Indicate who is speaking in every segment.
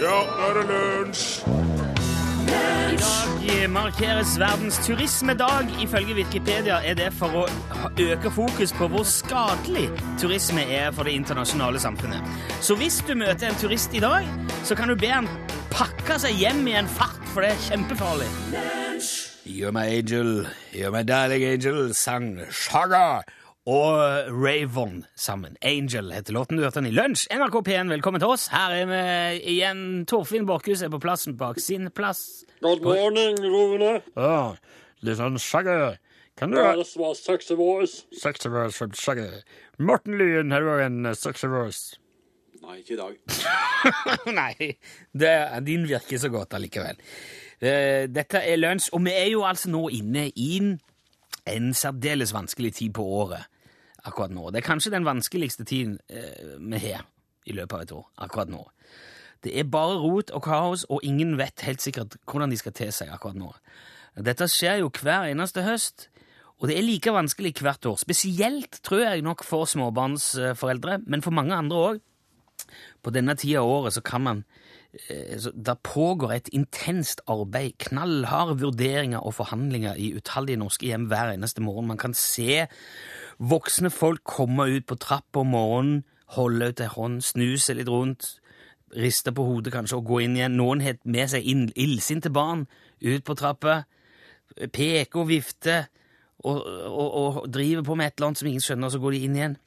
Speaker 1: Ja, nå er det lunsj!
Speaker 2: I dag markeres verdens turismedag. Ifølge Wikipedia er det for å ha- øke fokus på hvor skadelig turisme er for det internasjonale samfunnet. Så hvis du møter en turist i dag, så kan du be han pakke seg hjem i en fart, for det er kjempefarlig. You're my angel, you're my darling angel, sang Shaga og Ravon sammen. Angel heter låten du hørte den i lunsj. NRK P1, velkommen til oss. Her er vi igjen. Torfinn Borkhus er på plassen bak sin plass.
Speaker 3: Good morning, Rune.
Speaker 2: Ja, litt sånn skjegge. Kan du
Speaker 3: Ja,
Speaker 2: ha
Speaker 3: det var sexy voice.
Speaker 2: sexy voice som skjegge? Morten Lyen har òg en eh, sexy voice.
Speaker 4: Nei, ikke i dag.
Speaker 2: Nei, det, din virker så godt allikevel. Eh, Dette er lunsj, og vi er jo altså nå inne i en særdeles vanskelig tid på året akkurat nå. Det er kanskje den vanskeligste tiden eh, vi har i løpet av et år akkurat nå. Det er bare rot og kaos, og ingen vet helt sikkert hvordan de skal til seg akkurat nå. Dette skjer jo hver eneste høst, og det er like vanskelig hvert år. Spesielt, tror jeg nok, for småbarnsforeldre, men for mange andre òg på denne tida av året så kan man eh, så Der pågår et intenst arbeid, knallharde vurderinger og forhandlinger i utallige norske hjem hver eneste morgen. Man kan se voksne folk komme ut på trappa om morgenen, holde ut ei hånd, snu seg litt rundt, riste på hodet kanskje og gå inn igjen. Noen har med seg inn- illsinte barn ut på trappa, peker og vifter og, og, og driver på med et eller annet som ingen skjønner, og så går de inn igjen.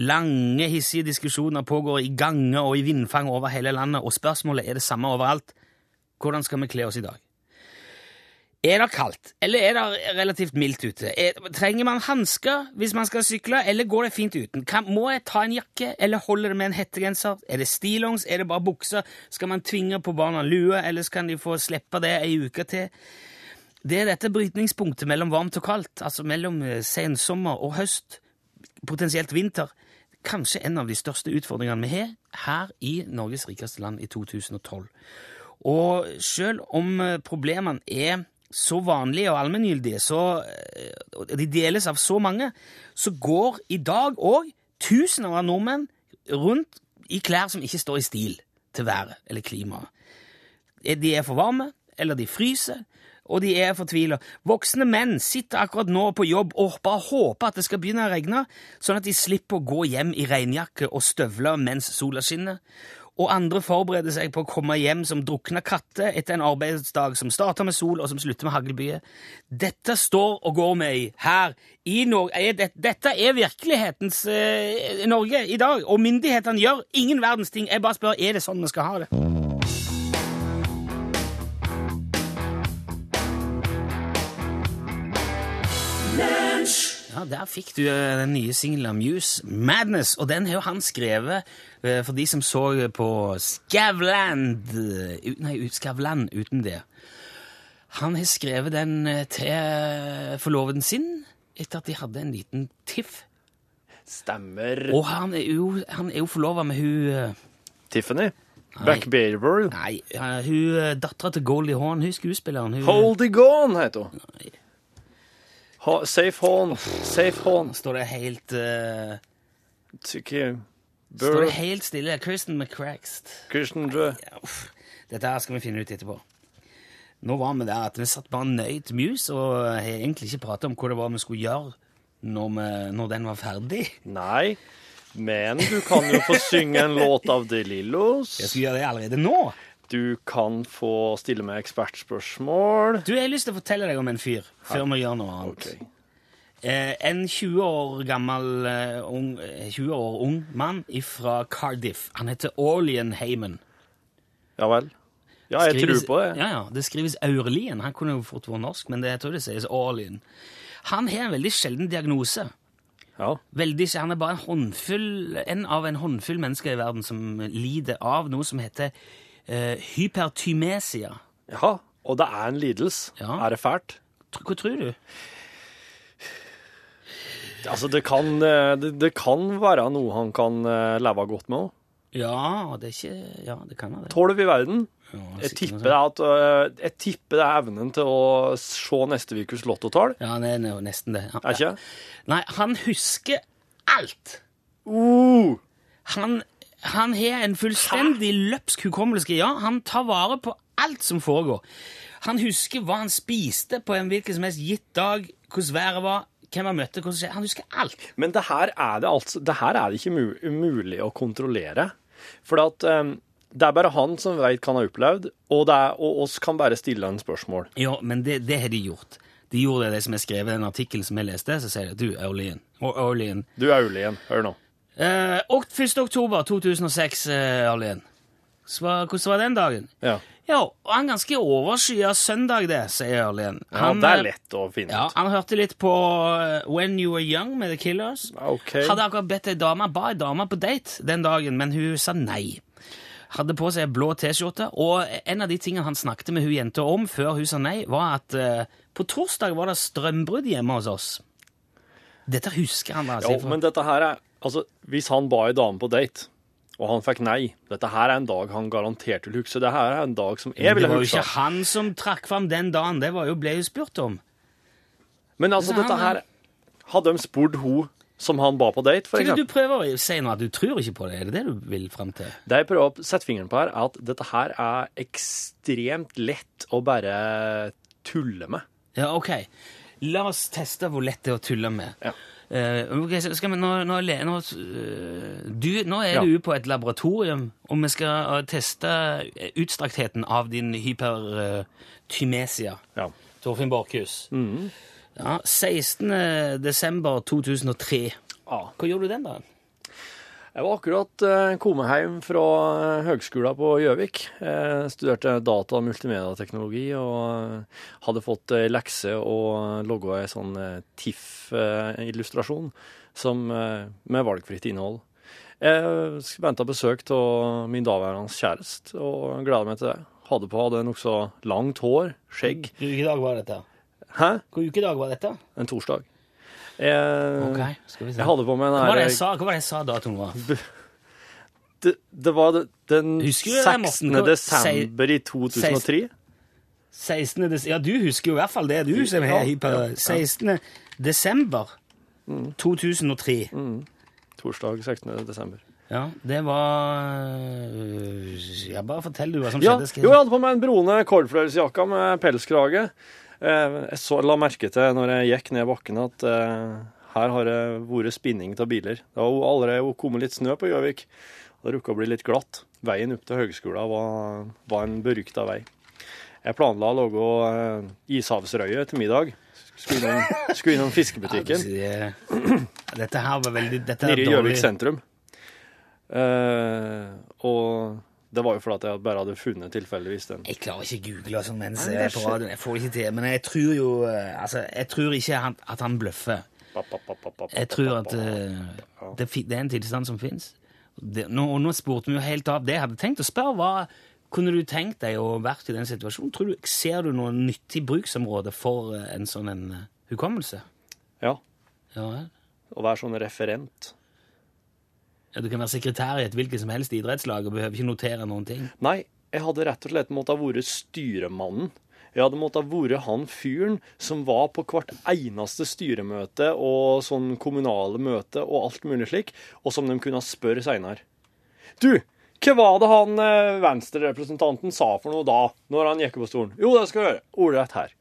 Speaker 2: Lange, hissige diskusjoner pågår i ganger og i vindfang over hele landet, og spørsmålet er det samme overalt. Hvordan skal vi kle oss i dag? Er det kaldt, eller er det relativt mildt ute? Er, trenger man hansker hvis man skal sykle, eller går det fint uten? Kan, må jeg ta en jakke, eller holder det med en hettegenser? Er det stillongs, er det bare bukser? Skal man tvinge på barna lue, eller skal de få slippe det ei uke til? Det er dette brytningspunktet mellom varmt og kaldt, altså mellom eh, sensommer og høst, potensielt vinter, kanskje en av de største utfordringene vi har her i Norges rikeste land i 2012. Og selv om eh, problemene er så vanlige og allmenngyldige, så, eh, og de deles av så mange, så går i dag òg tusener av nordmenn rundt i klær som ikke står i stil til været eller klimaet. Eh, De er for varme, eller de fryser, og de er fortvila. Voksne menn sitter akkurat nå på jobb og bare håper at det skal begynne å regne, sånn at de slipper å gå hjem i regnjakke og støvler mens sola skinner. Og andre forbereder seg på å komme hjem som drukna katter etter en arbeidsdag som starter med sol, og som slutter med haglbyer. Dette står og går med i her i Norge. Dette er virkelighetens eh, Norge i dag, og myndighetene gjør ingen verdens ting. Jeg bare spør, er det sånn vi skal ha det? Ja, Der fikk du eh, den nye singelen Muse, 'Madness'. Og den har jo han skrevet eh, for de som så på Skavland eh, ut- Nei, ut- Skavlan uten det. Han har skrevet den eh, til eh, forloveden sin etter at de hadde en liten tiff.
Speaker 5: Stemmer.
Speaker 2: Og han er jo, han er jo forlova med hun eh,
Speaker 5: Tiffany. Back Beaver.
Speaker 2: Nei, eh, hun dattera til Goldie Hawn, hun skuespilleren. Hun,
Speaker 5: Holdy Gone heter hun. Ha, safe Horn. Safe Horn.
Speaker 2: Står det helt eh,
Speaker 5: Tykke.
Speaker 2: Står
Speaker 5: Burr.
Speaker 2: det helt stille. Kirsten McCrackst.
Speaker 5: Kirsten Drø.
Speaker 2: Ja, uff. Dette her skal vi finne ut etterpå. Nå var vi der at vi satt bare nøyd mus og har egentlig ikke pratet om hva det var vi skulle gjøre når, vi, når den var ferdig.
Speaker 5: Nei. Men du kan jo få synge en låt av De Lillos.
Speaker 2: Jeg skulle gjøre det allerede nå.
Speaker 5: Du kan få stille med ekspertspørsmål.
Speaker 2: Du, Jeg har lyst til å fortelle deg om en fyr før vi gjør noe annet.
Speaker 5: Ok.
Speaker 2: Eh, en 20 år gammel eh, ung, eh, 20 år ung mann fra Cardiff. Han heter Orlean Heyman.
Speaker 5: Ja vel. Ja, jeg tror
Speaker 2: Skrives-
Speaker 5: på det.
Speaker 2: Ja, ja, det skrives Aurelien. Han kunne jo fort vært norsk, men det jeg tror det sies Orlean. Han har en veldig sjelden diagnose.
Speaker 5: Ja.
Speaker 2: Veldig ikke. Han er bare en håndfull, en av en håndfull mennesker i verden som lider av noe som heter eh, hypertymesia.
Speaker 5: ja. Og det er en lidelse.
Speaker 2: Ja.
Speaker 5: Er det fælt?
Speaker 2: Tr- Hva tror du?
Speaker 5: Altså, det kan, eh, det, det kan være noe han kan eh, leve godt med òg.
Speaker 2: Ja, det er ikke Ja, det kan være det.
Speaker 5: Tolv i verden.
Speaker 2: Ja,
Speaker 5: Jeg
Speaker 2: sikkert
Speaker 5: tipper,
Speaker 2: noe sånt.
Speaker 5: det er at, øh, jeg tipper det er evnen til å se neste ukes lottotall.
Speaker 2: Ja, det er jo nesten det. Ja,
Speaker 5: Er ikke
Speaker 2: ja. Nei, han husker alt.
Speaker 5: Uh,
Speaker 2: Han Han har en fullstendig løpsk hukommelse. Ja, han tar vare på alt som foregår. Han husker hva han spiste på en hvilken som helst gitt dag, hvordan været var, hvem han møtte, hvordan det skjedde. Han husker alt.
Speaker 5: Men det her er det, altså, det, her er det ikke mu- umulig å kontrollere. For at, eh, det er bare han som vet hva han har opplevd, og, det er, og oss kan bare stille han spørsmål.
Speaker 2: Ja, men det, det har de gjort. De gjorde det, det som er skrevet i den artikkelen som jeg leste, så sier de du, Aulien, og Aulien.
Speaker 5: Du er ulig igjen, hør nå.
Speaker 2: Eh, og 1. oktober 2006, eh, Aulien. Så hva- Hvordan var den dagen?
Speaker 5: Ja,
Speaker 2: Ja, og han ganske overskya søndag, det, sier eh, Aulien.
Speaker 5: ja det er lett å finne
Speaker 2: Ja,
Speaker 5: ut.
Speaker 2: han hørte litt på eh, When You Were Young med The Killers.
Speaker 5: Ok.
Speaker 2: Hadde akkurat bedt ei dame, ba ei dame på date den dagen, men hun sa nei. Hadde på seg blå T-skjorte, og en av de tingene han snakket med hun jenta om før hun sa nei, var at eh, på torsdag var det strømbrudd hjemme hos oss. Dette husker han, da.
Speaker 5: Jo,
Speaker 2: sier for-
Speaker 5: men dette her er Altså, hvis han ba ei dame på date, og han fikk nei Dette her er en dag han garantert vil huske. Det her er en dag som jeg
Speaker 2: det
Speaker 5: ville
Speaker 2: var jo ikke
Speaker 5: huske.
Speaker 2: han som trakk fram den dagen, det var jo ble hun spurt om.
Speaker 5: Men altså,
Speaker 2: Nei,
Speaker 5: dette
Speaker 2: nei.
Speaker 5: her Hadde de spurt hun som han ba på date, for
Speaker 2: Hva er det
Speaker 5: eksempel?
Speaker 2: du prøver å si nå, at du tror ikke på det? Er det det du vil fram til?
Speaker 5: Det jeg prøver å sette fingeren på her, er at dette her er ekstremt lett å bare tulle med.
Speaker 2: Ja, ok. La oss teste hvor lett det er å tulle med.
Speaker 5: Ja.
Speaker 2: Eh, ok, så skal vi, nå, nå, le- nå, eh, du, nå er
Speaker 5: Ja.
Speaker 2: du på et laboratorium, og vi skal eh, teste eh, utstraktheten av din hypertymesia,
Speaker 5: Ja.
Speaker 2: Torfinn Borkhus. Ja, 16. desember 2003.
Speaker 5: Ah.
Speaker 2: Hva gjorde du den dagen?
Speaker 5: Jeg var akkurat eh, kommet hjem fra eh, høgskolen på Gjøvik. Eh, studerte data- og multimediateknologi og eh, hadde fått ei lekse og logga ei sånn eh, TIFF-illustrasjon som, eh, med valgfritt innhold. Jeg venta besøk av min daværende kjæreste og gleda meg til det. Hadde på hadde nokså langt hår, skjegg.
Speaker 2: Hvilken ukedag var dette?
Speaker 5: Hæ?
Speaker 2: Hvilken ukedag var dette?
Speaker 5: En torsdag. Jeg,
Speaker 2: Ok, skal vi se.
Speaker 5: jeg hadde på meg
Speaker 2: Hva var det
Speaker 5: den
Speaker 2: jeg sa, hva var det jeg sa datoen var?
Speaker 5: det, det var det- den
Speaker 2: Husker du det,
Speaker 5: 16.
Speaker 2: Morten? Hvor-
Speaker 5: desember i 2003.
Speaker 2: 16. Des ja, du husker jo i hvert fall det, du som er hyper. 16. desember
Speaker 5: Mm.
Speaker 2: 2003.
Speaker 5: Torsdag 16. desember.
Speaker 2: Ja, det var øh, Ja, bare fortell du hva som
Speaker 5: Ja,
Speaker 2: skjedde.
Speaker 5: jo, jeg hadde på meg en brune kålfløyelsjakke med pelskrage. Eh, Jeg så, la merke til når jeg gikk ned bakken at eh, her har det vært spinning av biler. Det har jo allerede kommet litt snø på Gjøvik. og Det rukka å bli litt glatt. Veien opp til høgskolen var, var en berykta vei. Jeg planla å lage eh, ishavsrøye til middag. Skulle innom, skulle innom fiskebutikken.
Speaker 2: Ja, øh, dette her var veldig dette er
Speaker 5: Nede i
Speaker 2: dårlig.
Speaker 5: Gjøvik sentrum. Eh, og det var jo fordi at jeg bare hadde funnet tilfeldigvis den.
Speaker 2: Jeg klarer ikke å google sånn mens
Speaker 5: Nei,
Speaker 2: jeg er
Speaker 5: det
Speaker 2: på
Speaker 5: skjer.
Speaker 2: radioen. Jeg får det ikke til. Men jeg tror jo øh, Altså, jeg tror ikke han, at han bløffer.
Speaker 5: Pa, pa, pa, pa, pa, pa,
Speaker 2: Jeg tror
Speaker 5: pa,
Speaker 2: at
Speaker 5: pa, pa.
Speaker 2: eh, det, fi- det er en tilstand som fins. Det, nå, og nå spurte vi jo helt av det jeg hadde tenkt å spørre. Hva kunne du tenkt deg å vært i den situasjonen? Tror du, ser du noe nyttig bruksområde for eh, en sånn en eh, hukommelse?
Speaker 5: Ja.
Speaker 2: Ja, vel.
Speaker 5: Å være sånn referent.
Speaker 2: ja, Du kan være sekretær i et hvilket som helst idrettslag og behøver ikke notere noen ting.
Speaker 5: Nei, jeg hadde rett og slett måttet ha vært styremannen. Jeg hadde måttet ha vært han fyren som var på hvert eneste styremøte og sånn kommunale møte og alt mulig slik, og som de kunne spørre seinere. Du, hva var det han eh, venstrerepresentanten sa for noe da, når han gikk opp på stolen? Jo, det skal jeg gjøre. Ordrett her.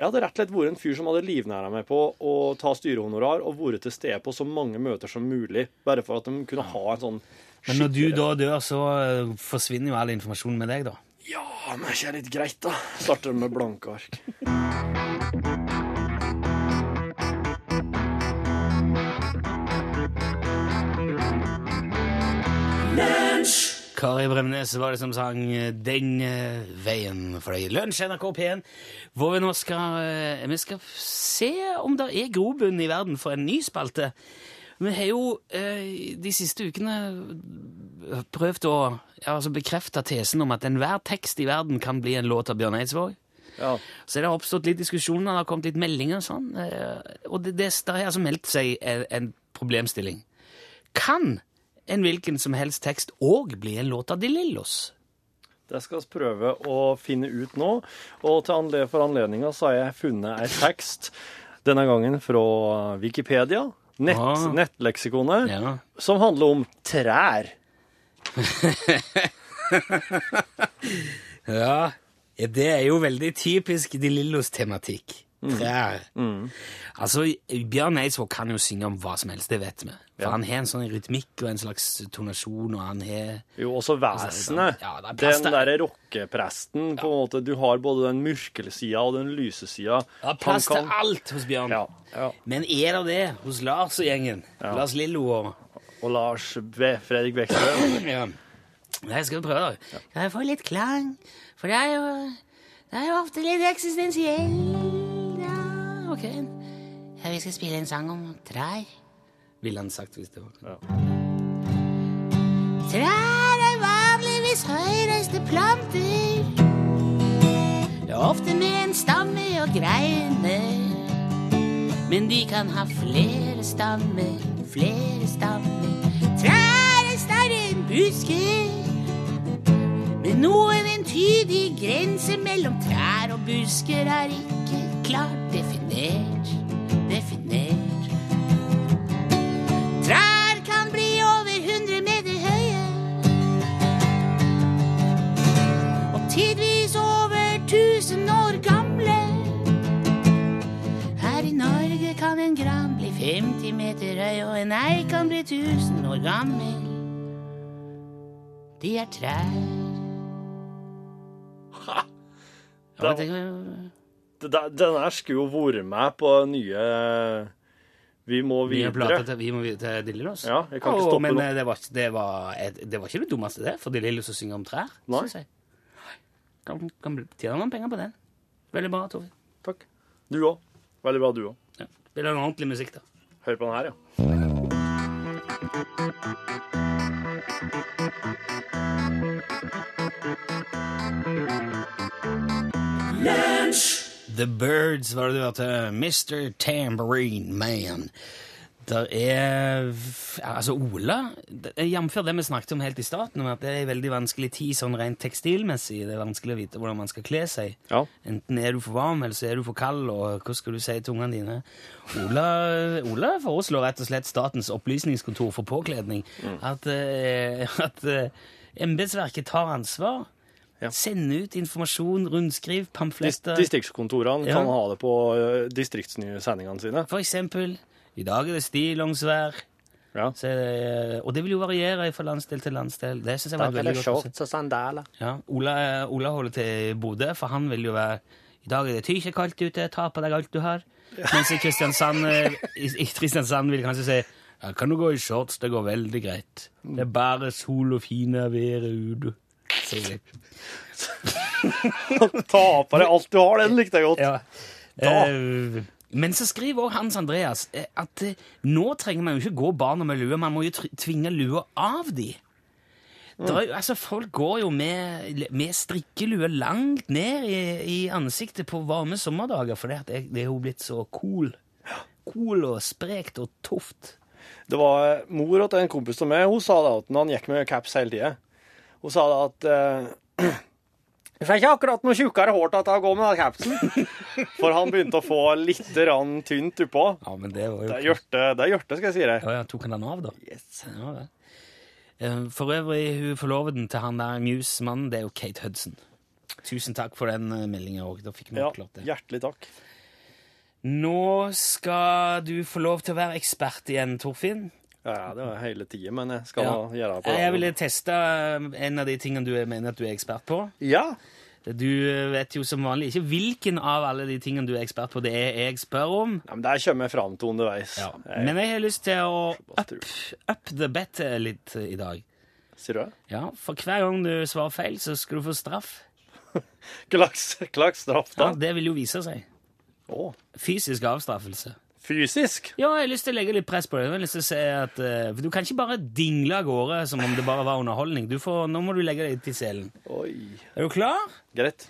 Speaker 5: Jeg hadde rett og slett vært en fyr som hadde livnæra meg på å ta styrehonorar og vært til stede på så mange møter som mulig, bare for at de kunne ha en sånn
Speaker 2: Men når du
Speaker 5: skikkelig-
Speaker 2: da dør, så eh, forsvinner jo all informasjon med deg, da.
Speaker 5: ja, men er ikke det litt greit, da? Starter med blanke ark.
Speaker 2: Kari Bremnes var det som sang eh, 'Den eh, veien fløy'. Lunsj, NRK P1, hvor vi nå skal eh, Vi skal se om det er grobunn i verden for en ny spalte. Vi har jo eh, de siste ukene eh, prøvd å ja, altså bekrefte tesen om at enhver tekst i verden kan bli en låt av Bjørn Eidsvåg.
Speaker 5: Ja.
Speaker 2: Så det har oppstått litt diskusjoner, det har kommet litt meldinger og sånn. eh, Og det, det der har altså meldt seg en, en problemstilling. Kan en hvilken som helst tekst òg bli en låt av De Lillos?
Speaker 5: Det skal vi prøve å finne ut nå. Og til anle for anledninga så har jeg funnet ei tekst, denne gangen fra Wikipedia, nett,
Speaker 2: Ah.
Speaker 5: nettleksikonet,
Speaker 2: Ja.
Speaker 5: som handler om trær.
Speaker 2: Ja, det er jo veldig typisk De Lillos tematikk. Trær. Altså, Bjørn Eidsvåg kan jo synge om hva som helst, det vet vi. For han har en sånn rytmikk og en slags tonasjon, og han har
Speaker 5: Jo, også vesenet.
Speaker 2: Ja, det er
Speaker 5: den
Speaker 2: presten.
Speaker 5: derre rockepresten, på en måte. Du har både den mørkelsida og den lyse sida.
Speaker 2: ja, plass til alt hos Bjørn.
Speaker 5: Ja, ja.
Speaker 2: Men er det det hos Lars og gjengen? Lars Lillo og
Speaker 5: Og Lars Be Fredrik Bekstø.
Speaker 2: ja. Nei, skal vi prøve? da? Kan jeg få litt klang? For det er jo, det er jo ofte litt eksistensiell. Ja, ok. Ja, vi skal spille en sang om trær. Ville han sagt hvis det var Trær er vanligvis høyreste planter. Det er ofte med en stamme og greiner. Men de kan ha flere stammer, flere stammer. Trær er større enn busker. Men noen entydig grense mellom trær og busker er ikke klart definert. Definert. Trær kan bli over 100 meter høye. Og tidvis over 1000 år gamle. Her i Norge kan en gran bli 50 meter høy, og en eik kan bli 1000 år gammel. De er trær. Ja,
Speaker 5: Det-
Speaker 2: det kan-
Speaker 5: Det der- Den her skulle jo vært med på nye Vi må
Speaker 2: Vi har plata
Speaker 5: videre.
Speaker 2: til, vi må videre til De Lillos.
Speaker 5: Ja, jeg kan ikke
Speaker 2: Å,
Speaker 5: stoppe
Speaker 2: men
Speaker 5: nå.
Speaker 2: eh, det var, ikke- det, var, et- det var ikke det dummeste, det, for De Lillos å synge om trær.
Speaker 5: Nei.
Speaker 2: synes jeg. Kan, kan bli- tjene noen penger på den. Veldig bra, Tove.
Speaker 5: Takk. Du òg. Veldig bra, du òg.
Speaker 2: Ja. Spiller noe ordentlig musikk, da.
Speaker 5: Hør på den her, ja.
Speaker 2: The Birds var det du hørte. Mr. Tambourine Man. Der er Altså, Ola Jf. det vi snakket om helt i starten, om at det er en veldig vanskelig tid sånn rent tekstilmessig. Det er vanskelig å vite hvordan man skal kle seg.
Speaker 5: Ja.
Speaker 2: Enten er du for varm, eller så er du for kald, og hva skal du si til ungene dine? Ola, Ola foreslår rett og slett Statens opplysningskontor for påkledning at, eh, at eh, embetsverket tar ansvar.
Speaker 5: Ja.
Speaker 2: Sende ut informasjon, rundskriv,
Speaker 5: Dis-
Speaker 2: pamfletter.
Speaker 5: Distriktskontorene
Speaker 2: Ja.
Speaker 5: kan ha det på eh, distriktsnyhetssendingene sine.
Speaker 2: For eksempel, i dag er det stillongvær,
Speaker 5: Ja.
Speaker 2: så er det- eh, og det vil jo variere fra landsdel til landsdel. Det synes jeg var et veldig godt konsept.
Speaker 5: og sandaler.
Speaker 2: Ja, Ola, eh, Ola holder til i Bodø, for han vil jo være I dag er det tykje kaldt ute, ta på deg alt du har. Mens i Kristiansand, eh, i, i Kristiansand vil kanskje si ja, kan du gå i shorts, det går veldig greit. Det er bare sol og fine været ute. sier de.
Speaker 5: Ta på deg alt du har, den likte jeg godt.
Speaker 2: Ja. Eh, men så skriver også Hans Andreas eh, at eh, nå trenger man jo ikke gå barna med lue, man må jo tr- tvinge lua av de. Der er jo, altså, folk går jo med, med strikkelue langt ned i, i ansiktet på varme sommerdager, for det, det, det er jo blitt så cool. Cool og sprekt og tøft.
Speaker 5: Det var mor til en kompis av meg, hun sa det at når han gikk med caps hele tida. Hun sa det at eh, Du får ikke akkurat noe tjukkere hår til at jeg går med den capsen. For han begynte å få litt rann tynt oppå.
Speaker 2: Ja, men det var jo
Speaker 5: Det er hjerte, det er hjerte skal jeg si deg.
Speaker 2: Ja, ja, tok han den av, da? Yes. Ja, det. Eh, For øvrig, hun forloveden til han der Muse-mannen, det er jo Kate Hudson. Tusen takk for den meldinga òg. Da fikk vi
Speaker 5: Ja,
Speaker 2: oppklart det.
Speaker 5: hjertelig takk.
Speaker 2: Nå skal du få lov til å være ekspert igjen, Torfinn.
Speaker 5: Ja, det var hele tida, men jeg skal
Speaker 2: Ja. Eh,
Speaker 5: gjøre det på
Speaker 2: Jeg ville teste eh, en av de tingene du mener at du er ekspert på.
Speaker 5: Ja.
Speaker 2: Du eh, vet jo som vanlig ikke hvilken av alle de tingene du er ekspert på, det er jeg spør om.
Speaker 5: ja, men det her kommer jeg fram til underveis. Eh, Jeg-
Speaker 2: Men jeg har lyst til å up,
Speaker 5: Bastur.
Speaker 2: up the bet eh, litt i dag.
Speaker 5: Sier du det?
Speaker 2: Ja, For hver gang du svarer feil, så skal du få straff.
Speaker 5: Klaks, klaks straff, da.
Speaker 2: Ja, det vil jo vise seg.
Speaker 5: Å,
Speaker 2: Fysisk avstraffelse.
Speaker 5: fysisk?
Speaker 2: Ja, jeg har lyst til å legge litt press på det. Jeg har lyst til å si at eh, for Du kan ikke bare dingle av gårde som om det bare var underholdning. Du får, nå må du legge deg til selen.
Speaker 5: Oi.
Speaker 2: Er du klar?
Speaker 5: Greit.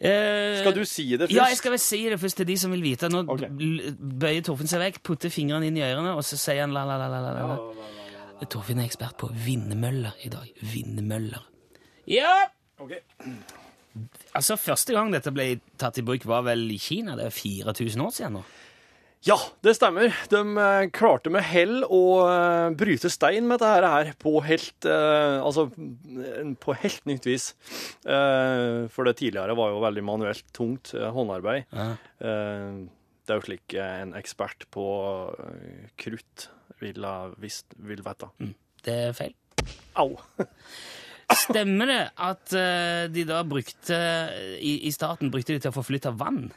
Speaker 2: Eh,
Speaker 5: Skal du si det først?
Speaker 2: Ja, jeg skal vel si det først til de som vil vite. Nå
Speaker 5: Ok.
Speaker 2: l- bøyer Torfinn seg vekk, putter fingrene inn i ørene, og så sier han la, la, la, la, la, la. Torfinn er ekspert på vindmøller i dag. Vindmøller. Ja!
Speaker 5: Ok.
Speaker 2: Altså, Første gang dette ble tatt i bruk, var vel i Kina. Det er 4000 år siden nå.
Speaker 5: Ja, det stemmer. De eh, klarte med hell å eh, bryte stein med dette her på helt, eh, altså, eh, på helt nytt vis. Eh, For det tidligere var jo veldig manuelt tungt eh, håndarbeid. Eh, Det er jo slik eh, en ekspert på eh, krutt vil, ha visst, vil vite.
Speaker 2: Det er feil.
Speaker 5: Au!
Speaker 2: Stemmer det at eh, de da brukte i, i starten brukte de til å forflytte vann?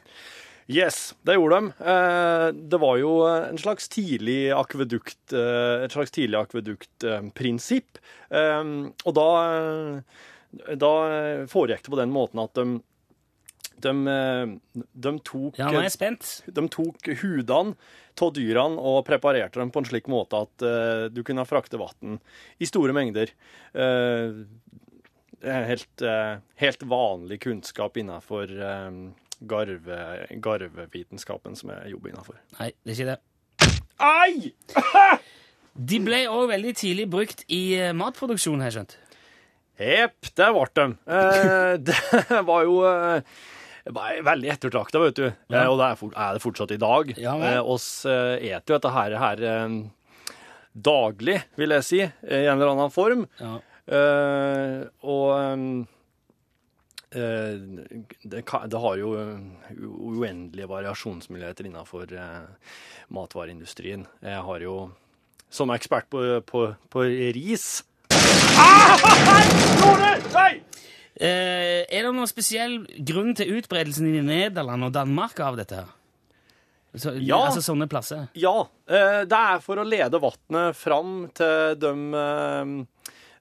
Speaker 5: Yes, det gjorde de. Eh, Det var jo en slags tidlig akvedukt, eh, et slags tidlig akveduktprinsipp. Og da, eh, da foregikk det på den måten at de, de, eh, de tok
Speaker 2: Ja, nå er jeg spent.
Speaker 5: de tok hudene av dyrene og preparerte dem på en slik måte at eh, du kunne frakte vann i store mengder. Eh, det er helt, eh, helt vanlig kunnskap innenfor eh, garve, garvevitenskapen som jeg jobber innenfor.
Speaker 2: Nei, det er ikke det.
Speaker 5: Ai!
Speaker 2: De ble òg veldig tidlig brukt i eh, matproduksjon, har jeg skjønt.
Speaker 5: Jepp, det ble de. Eh, det var jo eh, det var veldig ettertrakta, vet du. Eh, og det er, fort, er det fortsatt i dag.
Speaker 2: Ja, vel.
Speaker 5: eh, oss eh, et jo dette her, her eh, daglig, vil jeg si, i en eller annen form.
Speaker 2: Ja.
Speaker 5: Eh, og ehm, eh, det, ka- det har jo eh, u- uendelige variasjonsmuligheter innenfor eh, matvareindustrien. Jeg har jo Som ekspert på, på, på ris
Speaker 2: Eh, er det noen spesiell grunn til utbredelsen i Nederland og Danmark av dette? her? Så,
Speaker 5: Ja.
Speaker 2: Altså sånne plasser?
Speaker 5: Ja. eh, Det er for å lede vannet fram til de, eh,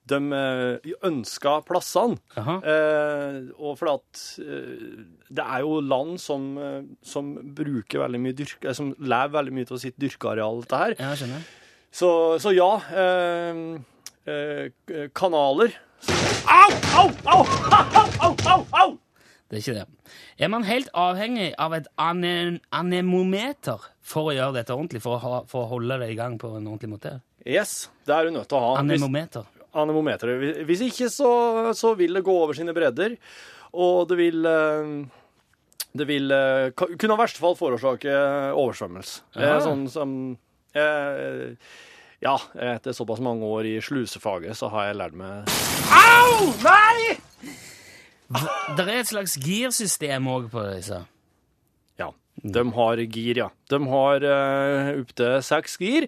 Speaker 5: de eh, ønska plassene.
Speaker 2: Jaha.
Speaker 5: Eh, og fordi at eh, det er jo land som, eh, som bruker veldig mye dyrk, eh, som lever veldig mye av sitt dyrkeareal, dette her.
Speaker 2: Ja, jeg skjønner.
Speaker 5: Så, så ja. Eh, eh, kanaler. Au! Au! Au! Au! Au! Au! Au!
Speaker 2: Det er ikke det. Er man helt avhengig av et ane anemometer for å gjøre dette ordentlig? For å, ha, for å holde det i gang på en ordentlig måte?
Speaker 5: Yes, det er du nødt til å ha. Hvis-
Speaker 2: Anemometer.
Speaker 5: anemometeret. Hvis- Hvis ikke, så, så vil det gå over sine bredder, og det vil eh, Det vil eh, ka- kunne i verste fall forårsake oversvømmelse. Eh,
Speaker 2: Ja.
Speaker 5: Sånn som eh, Ja, etter såpass mange år i slusefaget, så har jeg lært meg Au! Nei!
Speaker 2: Det er et slags girsystem òg på disse.
Speaker 5: Ja. De har gir, ja. De har uh, opptil seks gir.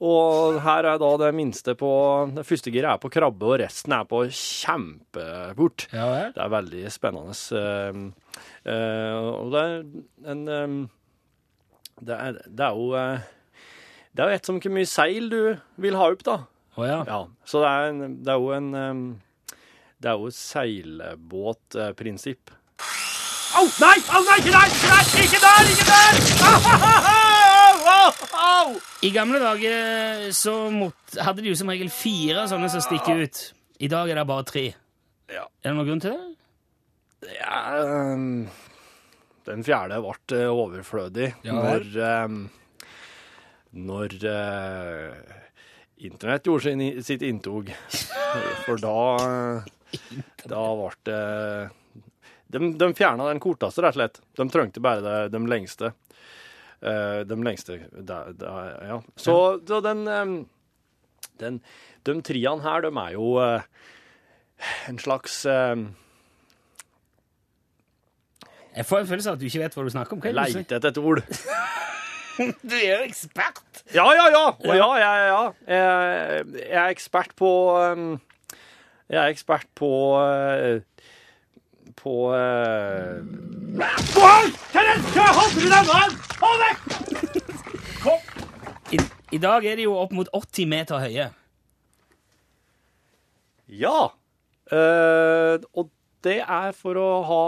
Speaker 5: Og her er da det minste på Det første giret er på krabbe, og resten er på kjempebort.
Speaker 2: Ja vel.
Speaker 5: Det er veldig spennende. eh, eh, og det er en eh, det, er, det er jo eh, Det er jo et som hvor mye seil du vil ha opp, da.
Speaker 2: Å ja.
Speaker 5: Ja, så det er, en, det er jo en ehm, Det er jo et seilbåtprinsipp. Au! Nei! Au, nei! Ikke der! Ikke der! Ikke der! Ikke der! Ah, Au, au, au, au!
Speaker 2: I gamle dager eh, så mot, hadde de jo som regel fire sånne som stikker ut. I dag er det bare tre.
Speaker 5: Ja.
Speaker 2: Er det noen grunn til det?
Speaker 5: Ja, ehm, den fjerde ble eh, overflødig
Speaker 2: Ja vel.
Speaker 5: når ehm, Når eh, Internett gjorde sin, sitt inntog. For da Da ble det De, de fjerna den korteste, rett og slett. De trengte bare det, de lengste. Eh, de lengste da- da- Ja. Så, så den, ehm, den De triene her, de er jo eh, en slags ehm,
Speaker 2: Jeg får en følelse av at du ikke vet hva du snakker om. Hva er det du sier?
Speaker 5: Leite etter et ord.
Speaker 2: Du er jo ekspert!
Speaker 5: Ja, ja, ja! Og ja, ja, ja. Jeg, jeg er ekspert på um, Jeg er ekspert på uh, På uh...
Speaker 2: I, I dag er de jo opp mot 80 meter høye.
Speaker 5: Ja! Eh, og det er for å ha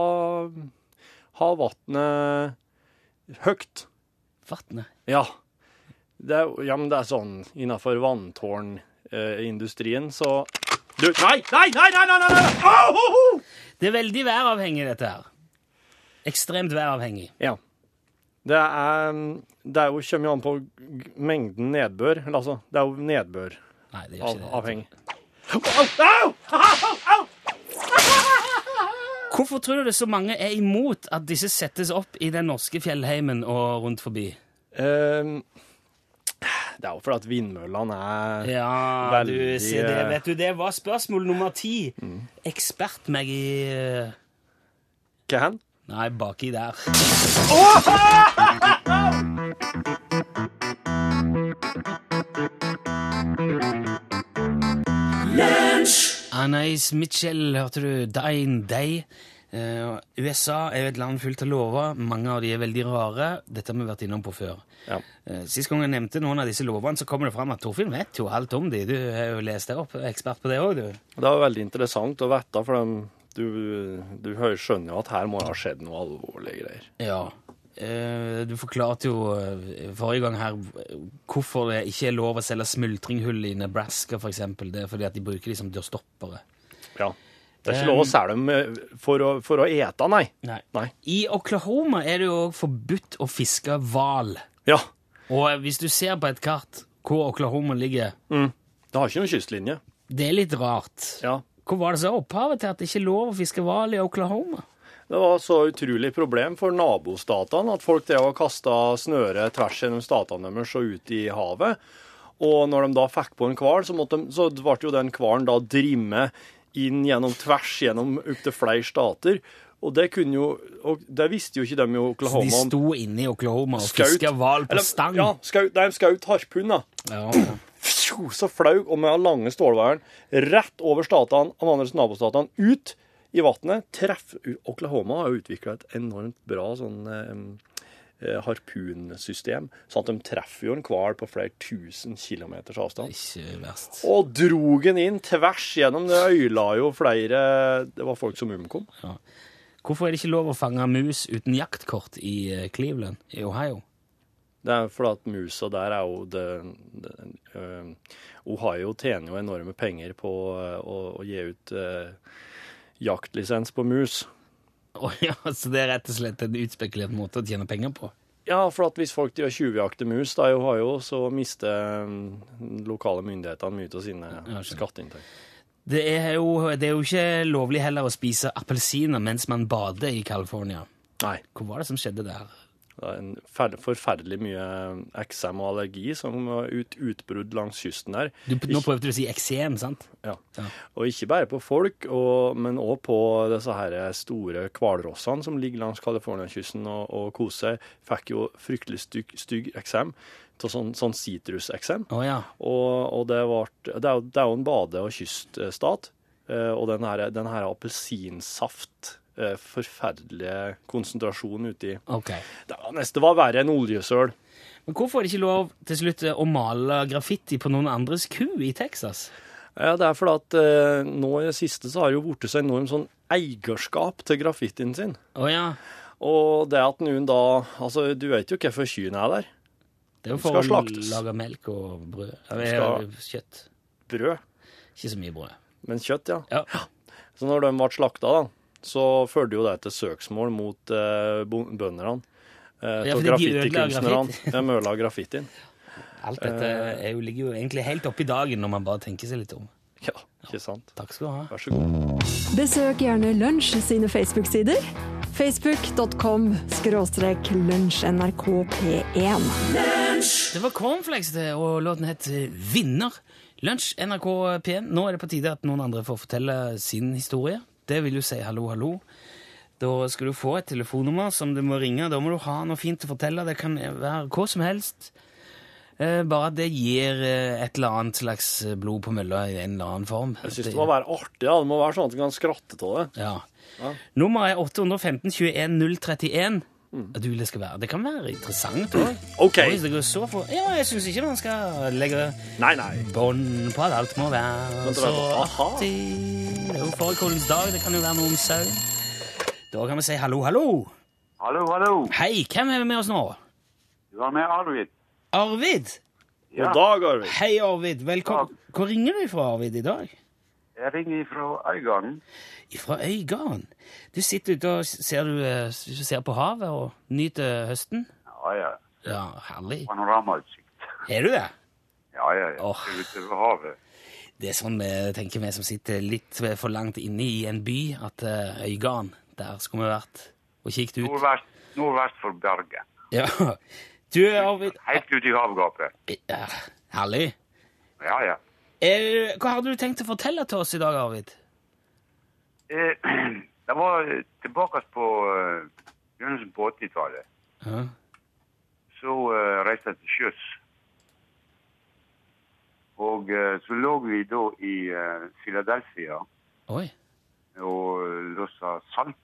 Speaker 5: Ha vannet høyt.
Speaker 2: Vatnet.
Speaker 5: Ja. Det er, ja, men det er sånn innafor vanntårnindustrien, så du, Nei, nei, nei! nei, nei, nei, nei. Au, ho, ho!
Speaker 2: Det er veldig væravhengig, dette her. Ekstremt væravhengig.
Speaker 5: Ja. Det er, um, det er jo, kommer jo an på g- mengden nedbør. Eller altså, det er jo nedbør
Speaker 2: Nei, det gjør
Speaker 5: av,
Speaker 2: ikke det.
Speaker 5: avhengig.
Speaker 2: Hvorfor tror du det så mange er imot at disse settes opp i den norske fjellheimen og rundt forbi?
Speaker 5: Ehm, det er jo fordi at vindmøllene er
Speaker 2: Ja,
Speaker 5: Veldig, eh, Mm.
Speaker 2: du ser det. Vet du, det var spørsmål nummer ti. Ekspert meg i eh,
Speaker 5: Hva hen?
Speaker 2: Nei, baki der. Anais Mitchell, hørte du? Dine Day. Eh, USA er jo et land fullt av lover. Mange av de er veldig rare. Dette har vi vært innom på før.
Speaker 5: Ja.
Speaker 2: Eh, Sist gang jeg nevnte noen av disse lovene, så kommer det fram at Torfinn vet jo alt om de. Du har jo lest deg opp, ekspert på det òg, du.
Speaker 5: Det var veldig interessant å vite, for den, du, du hø- skjønner jo at her må det ha skjedd noe alvorlige greier.
Speaker 2: Ja. Eh, Du forklarte jo eh, forrige gang her eh, hvorfor det ikke er lov å selge smultringhull i Nebraska, for eksempel. Det er fordi at de bruker de som dørstoppere.
Speaker 5: Ja. Det er ikke
Speaker 2: Um,
Speaker 5: lov å selge dem eh, for å, for å ete, nei.
Speaker 2: Nei.
Speaker 5: Nei.
Speaker 2: I Oklahoma er det jo også forbudt å fiske hval.
Speaker 5: Ja.
Speaker 2: Og eh, hvis du ser på et kart hvor Oklahoma ligger
Speaker 5: Det har ikke noen kystlinje.
Speaker 2: Det er litt rart.
Speaker 5: Ja.
Speaker 2: Hvor var det så opphavet til at det ikke er lov å fiske hval i Oklahoma?
Speaker 5: Det var så utrolig problem for nabostatene at folk drev og kasta snøre tvers gjennom statene deres og ut i havet. Og når de da fikk på en hval, så, måtte de- så ble jo den hvalen da drimme inn gjennom tvers gjennom opptil flere stater. Og det kunne jo og Det visste jo ikke de i Oklahoma.
Speaker 2: De sto inne i Oklahoma og
Speaker 5: Skaut-
Speaker 2: fiska hval på
Speaker 5: Eller,
Speaker 2: stang.
Speaker 5: Ja, skaut, nei, skaut harpun, da.
Speaker 2: Ja.
Speaker 5: Fjo, Så flaug, og med den lange stålveieren rett over statene, de andre nabostatene, ut i vannet. Treff Oklahoma har jo utvikla et enormt bra sånn eh, eh, harpunsystem, sånn at de treffer jo en hval på flere tusen kilometers avstand.
Speaker 2: Ikke verst.
Speaker 5: Og drog den inn tvers gjennom. Det øyla jo flere Det var folk som omkom.
Speaker 2: Hvorfor er det ikke lov å fange mus uten jaktkort i eh, Cleveland i Ohio?
Speaker 5: Det er fordi at musa der er jo det, det, øhm, Ohio tjener jo enorme penger på øh, å, å gi ut øh, jaktlisens på mus.
Speaker 2: Å ja, så det er rett og slett en utspekulert måte å tjene penger på?
Speaker 5: Ja, for at hvis folk driver og tjuvjakter mus da i Ohio, så mister øhm, lokale myndighetene mye av sine
Speaker 2: skjønner.
Speaker 5: skatteinntekter.
Speaker 2: Det er, jo, det er jo ikke lovlig heller å spise appelsiner mens man bader i California.
Speaker 5: Nei.
Speaker 2: Hva var det som skjedde der?
Speaker 5: Det er en fer forferdelig mye eh, eksem og allergi som var ut, utbrudd langs kysten der.
Speaker 2: Du, nå prøvde du å si eksem, sant?
Speaker 5: Ja.
Speaker 2: Ja.
Speaker 5: Og ikke bare på folk, og, men òg på disse her store hvalrossene som ligger langs Californiakysten og, og koser seg. Fikk jo fryktelig stygg, stygg eksem, til sånn, sånn sitruseksem.
Speaker 2: Å ja.
Speaker 5: Og, og det, vart, det, er, jo- det er jo en bade- og kyststat, eh, og den her, den her appelsinsaft eh, Forferdelige konsentrasjonen uti
Speaker 2: Ok.
Speaker 5: Det var nesten var verre enn oljesøl.
Speaker 2: Men hvorfor er det ikke lov til slutt eh, å male graffiti på noen andres ku i Texas?
Speaker 5: Ja, det er fordi at eh, nå i det siste så har det jo blitt så enormt sånn eierskap til graffitien sin.
Speaker 2: Å ja.
Speaker 5: Og det at noen da Altså, du vet jo hvorfor kyrne er der.
Speaker 2: Det er jo
Speaker 5: Skal
Speaker 2: for å
Speaker 5: slaktes.
Speaker 2: lage melk og brød.
Speaker 5: Skal-
Speaker 2: Eller kjøtt.
Speaker 5: Brød.
Speaker 2: Ikke så mye brød.
Speaker 5: Men kjøtt, ja.
Speaker 2: Ja.
Speaker 5: Så når de ble slakta, da, så førte jo det til søksmål mot eh, bon- bønderne. Eh,
Speaker 2: Ja, fordi
Speaker 5: til
Speaker 2: de ødela
Speaker 5: graffitikunstnerne. De ødela graffitien.
Speaker 2: Alt dette er jo, ligger jo egentlig helt oppi dagen når man bare tenker seg litt om.
Speaker 5: Ja, ikke sant.
Speaker 2: Takk skal du ha.
Speaker 5: Vær så god.
Speaker 4: Besøk gjerne Lunsj sine Facebook-sider. Facebook.com skråstrek lunsjnrkp1.
Speaker 2: Det var Cornflakes, det, og låten het eh, Vinner. Lunsj, NRK P1. Nå er det på tide at noen andre får fortelle sin historie. Det vil jo si hallo, hallo. Da skal du få et telefonnummer som du må ringe. Da må du ha noe fint å fortelle. Det kan være hva som helst. Eh, Bare at det gir eh, et eller annet slags blod på mølla i en eller annen form.
Speaker 5: Jeg syns det må være artig. Ja. Det må være sånn at en kan skratte av det.
Speaker 2: Ja. Nummeret er 815 21 031. Du, det, skal være. det kan være interessant òg.
Speaker 5: Ok.
Speaker 2: Ja, jeg syns ikke man skal legge
Speaker 5: Nei, nei.
Speaker 2: Bånd på at alt må være
Speaker 5: Men det
Speaker 2: så
Speaker 5: var bare, aha.
Speaker 2: artig. Det er jo fårikålens dag, det kan jo være noe om sau. Da kan vi si hallo, hallo.
Speaker 6: Hallo, hallo.
Speaker 2: Hei, hvem er vi med oss nå?
Speaker 6: Du var med Arvid.
Speaker 2: Arvid.
Speaker 5: God dag, Arvid.
Speaker 2: Hei, Arvid. Velkommen. Hvor ringer du fra, Arvid, i dag?
Speaker 6: Jeg ringer fra Øygarden.
Speaker 2: Fra Øygarden. Du sitter ute og ser, du, eh, ser på havet og nyter høsten.
Speaker 6: Ja, Ah, ja.
Speaker 2: Ja, herlig.
Speaker 6: Panoramautsikt.
Speaker 2: Er du det?
Speaker 6: Ja, ja, ja.
Speaker 2: Åh.
Speaker 6: Ute ved havet.
Speaker 2: Det er sånn vi tenker, vi som sitter litt for langt inne i en by, at eh, Øygarden, der skulle vi vært og kikket ut.
Speaker 6: Nordvest, nordvest for Bergen.
Speaker 2: Ja, Du, Arvid
Speaker 6: Helt ut i havgapet.
Speaker 2: ja, Herlig.
Speaker 6: Ja, ja.
Speaker 2: Eh, hva har du tenkt å fortelle til oss i dag, Arvid?
Speaker 6: Eh, det var eh, tilbake på eh, begynnelsen på 80-tallet.
Speaker 2: Ja.
Speaker 6: Så eh, reiste jeg til sjøs. Og eh, så lå vi da i eh, Philadelphia
Speaker 2: Oi.
Speaker 6: og lossa salt.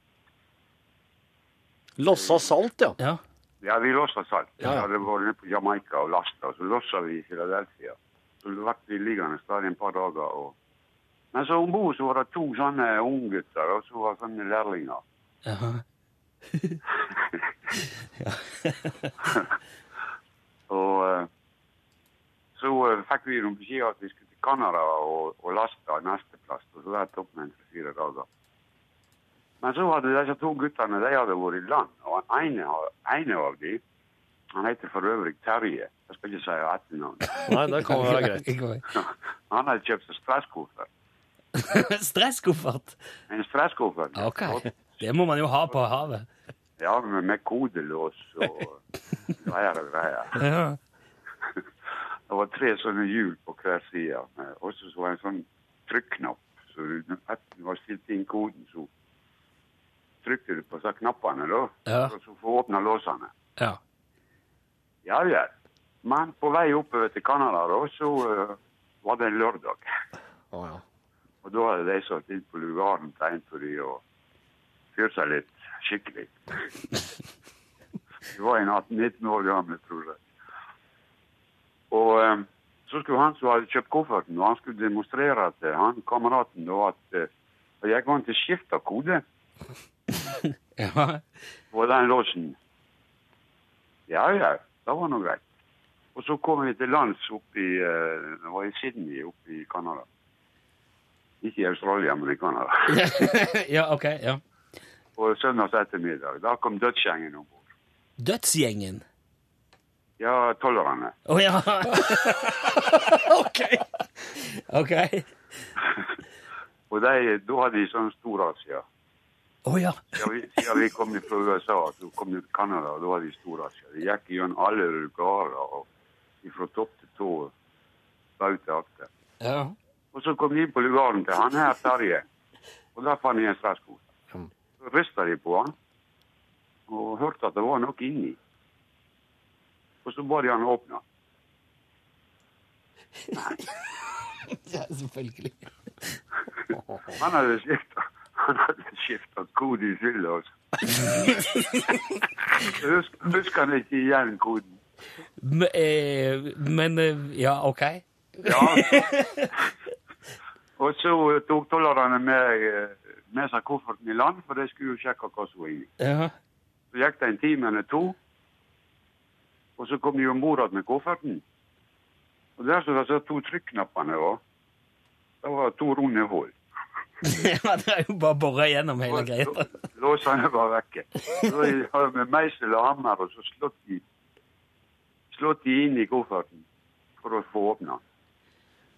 Speaker 5: Lossa salt, ja.
Speaker 2: Ja.
Speaker 6: Ja, vi lossa salt. Vi
Speaker 2: Ja, ja.
Speaker 6: hadde vært nede på Jamaica og lasta, og så lossa vi i Philadelphia. Så ble vi liggende stadig en par dager. Og... Men så om bord så var det to sånne unggutter, og så var det sånne lærlinger.
Speaker 2: Ja.
Speaker 6: Og eh, så eh, fikk vi noen beskjed at vi skulle til Canada og, og laste neste plass. Og så var det opp med en tre-fire dager. Men så hadde disse to guttene de hadde vært i land. Og den ene, har- ene av dem han heter for øvrig Terje. Jeg skal ikke si etternavnet.
Speaker 5: Nei, det kan være greit.
Speaker 6: Han hadde kjøpt seg stresskoffert.
Speaker 2: Stresskoffert.
Speaker 6: En stresskoffert.
Speaker 2: Ok. Det må man jo ha på havet.
Speaker 6: Ja, med, med kodelås og greier og greier.
Speaker 2: Ja.
Speaker 6: Det var tre sånne hjul på hver side. Og så var det en sånn trykknapp. Så du, etter du har stilt inn koden, så trykte du på disse knappene, da.
Speaker 2: Ja.
Speaker 6: Og så få åpna låsene.
Speaker 2: ja.
Speaker 6: Ja, ja. Men på vei oppover til Canada, da, så eh, var det en lørdag.
Speaker 5: Å, ja.
Speaker 6: Og da hadde de satt inn på lugaren til en av de og fyrt seg litt skikkelig. Vi var en 18-19 år gamle, tror jeg. Og eh, så skulle han som hadde kjøpt kofferten, og han skulle demonstrere til han kameraten da at eh, og jeg vant til skifta kode
Speaker 2: ja.
Speaker 6: på den låsen. Ja, ja, det var nå greit. Og så kom vi til lands oppe i, eh, det var i Sydney oppe i Canada. Ikke i Australia, men i Canada.
Speaker 2: ja, ok. Ja.
Speaker 6: på søndags ettermiddag. Da kom dødsgjengen om bord.
Speaker 2: Dødsgjengen.
Speaker 6: Ja, tollerne.
Speaker 2: Å ja. ok. Ok.
Speaker 6: Og de, da hadde de sånn stor Asia.
Speaker 2: Å ja.
Speaker 6: Ja, vi, ja, vi kom fra USA, så kom vi til Canada, og da hadde de stor Asia. De gikk gjennom alle rugarer, og fra topp til tå, bauta akte.
Speaker 2: ja.
Speaker 6: Og så kom de inn på lugaren til han her, Terje. Og der fant de en stresskose. Så rista de på han, og hørte at det var noe inni. Og så ba de han åpne.
Speaker 2: Ja, selvfølgelig.
Speaker 6: Han hadde skifta Han hadde skifta kode i fylla, altså. Husk- Husker han ikke igjen koden?
Speaker 2: Men, eh, men eh, Ja, ok.
Speaker 6: Ja. Og så tok tollerne med, med seg kofferten i land, for de skulle jo sjekke hva som var inni.
Speaker 2: Ja.
Speaker 6: Så gikk det en time eller to, og så kom de om bord igjen med kofferten. Og der som de så to trykknappene var, det var to runde hull.
Speaker 2: ja, det er jo bare å bore gjennom hele greia.
Speaker 6: Låsene var vekke. Så jeg har med meisel og hammer og så slått de, slått de inn i kofferten for å få åpna.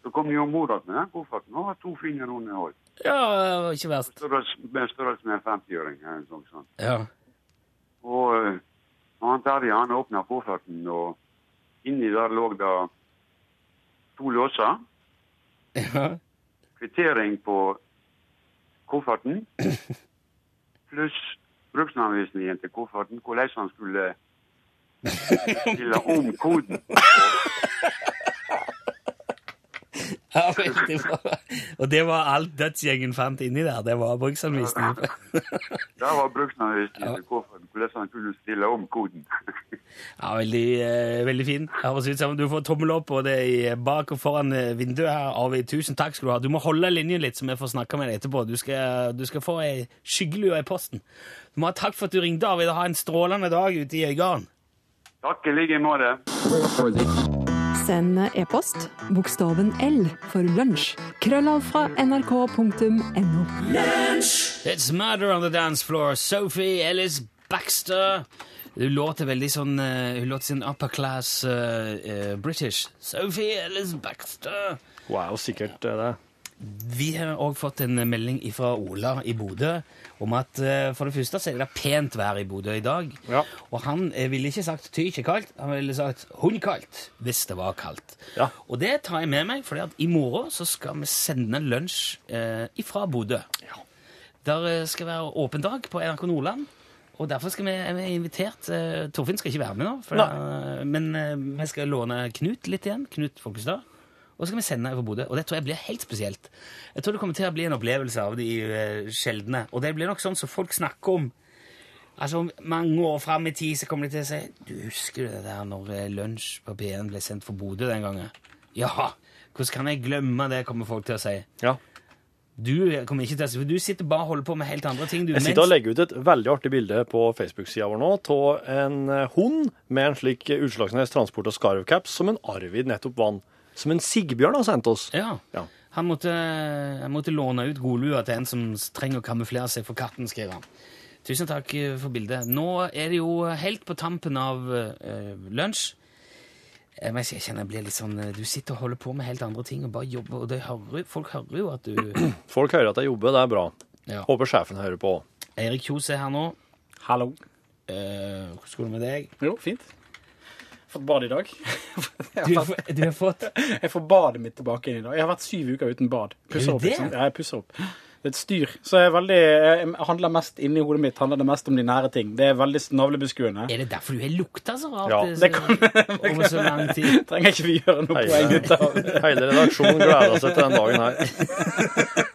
Speaker 6: Så kom de om bord igjen med den kofferten og hadde to fine runde hull.
Speaker 2: Ja, ikke verst.
Speaker 6: Størrelse- Med størrelse med en 50-øring. eller noe sånt.
Speaker 2: Ja.
Speaker 6: sånn, Og eh, han Terje han åpna kofferten, og inni der lå det to låser.
Speaker 2: ja.
Speaker 6: Kvittering på kofferten pluss bruksanvisningen til kofferten, hvordan han skulle stille om koden.
Speaker 2: Ja, veldig bra. Og det var alt dødsgjengen fant inni der. Det var bruksanvisningen.
Speaker 6: Der var bruksanvisningen til kofferten, hvordan han skulle stille om koden.
Speaker 2: Ja, veldig, eh, veldig fin. Høres ut som du får tommel opp både i bak og foran eh, vinduet her. Arvid, tusen takk skal du ha. Du må holde linjen litt, så vi får snakke med deg etterpå. Du skal, du skal få ei skyggelue i posten. Du må ha takk for at du ringte, Arvid, og ha en strålende dag ute i Øygarden.
Speaker 6: Takk i like måte.
Speaker 4: Send e-post bokstaven L for lunsj. Krøllav fra nrk.no.
Speaker 2: It's murder on the dance floor. Sophie Ellis Baxter. Hun låter veldig sånn eh, Hun låter sin upper class eh, eh, British. Sophie Ellis Baxter.
Speaker 5: Hun er jo sikkert eh, det.
Speaker 2: Vi har òg fått en melding fra Ola i Bodø om at eh, for det første så er det pent vær i Bodø i dag.
Speaker 5: Ja.
Speaker 2: Og han eh, ville ikke sagt 'tykjekaldt', han ville sagt 'hundkaldt' hvis det var kaldt.
Speaker 5: Ja.
Speaker 2: Og det tar jeg med meg, for i morgen så skal vi sende lunsj eh, ifra Bodø. Der eh, skal være åpen dag på NRK Nordland. Og derfor skal vi, er vi invitert eh, Torfinn skal ikke være med nå, for, eh, men eh, vi skal låne Knut litt igjen. Knut Folkestad. Og så skal vi sende over Bodø. Og det tror jeg blir helt spesielt. Jeg tror det kommer til å bli en opplevelse av de eh, sjeldne. Og det blir nok sånn som folk snakker om. Altså, om Mange år fram i tid så kommer de til å si Du husker det der når eh, lunsj på P1 ble sendt for Bodø den gangen? Ja! Hvordan kan jeg glemme det, kommer folk til å si.
Speaker 5: Ja.
Speaker 2: Du kommer ikke til å si, for du sitter bare og holder på med helt andre ting. Du,
Speaker 5: Jeg sitter og legger ut et veldig artig bilde på Facebook-sida vår nå av en eh, hund med en slik Utslagsnes Transport og Skarvcaps som en Arvid nettopp vant. Som en Sigbjørn har sendt oss.
Speaker 2: Ja.
Speaker 5: Ja.
Speaker 2: Han måtte, han måtte låne ut godlua til en som trenger å kamuflere seg for katten, skrev han. Tusen takk eh, for bildet. Nå er det jo helt på tampen av eh, lunsj. Jeg, vet ikke, jeg kjenner jeg blir litt sånn eh, Du sitter og holder på med helt andre ting og bare jobber, og det hører, folk hører jo at du
Speaker 5: Folk hører at jeg jobber, det er bra.
Speaker 2: ja.
Speaker 5: Håper sjefen hører på.
Speaker 2: Eirik Kjos er her nå.
Speaker 7: Hallo.
Speaker 2: Eh, Hvordan går det med deg?
Speaker 7: Jo, fint. Fått bad i dag.
Speaker 2: Du, har fått- du har fått
Speaker 7: Jeg får badet mitt tilbake inn i dag. Jeg har vært syv uker uten bad. Pusser
Speaker 2: Er
Speaker 7: opp,
Speaker 2: det
Speaker 7: liksom.
Speaker 2: det?
Speaker 7: Ja, jeg pusser opp. Det er et styr. Så jeg er veldig jeg handler mest inni hodet mitt handler det mest om de nære ting. Det er veldig snavlebeskuende.
Speaker 2: Er det derfor du har lukta så rart
Speaker 5: Ja,
Speaker 2: eh,
Speaker 7: det kan-
Speaker 2: over så lang tid?
Speaker 7: Trenger ikke vi gjøre noe poeng
Speaker 5: Hele,
Speaker 7: ut av.
Speaker 5: hele redaksjonen gleder seg til den dagen her.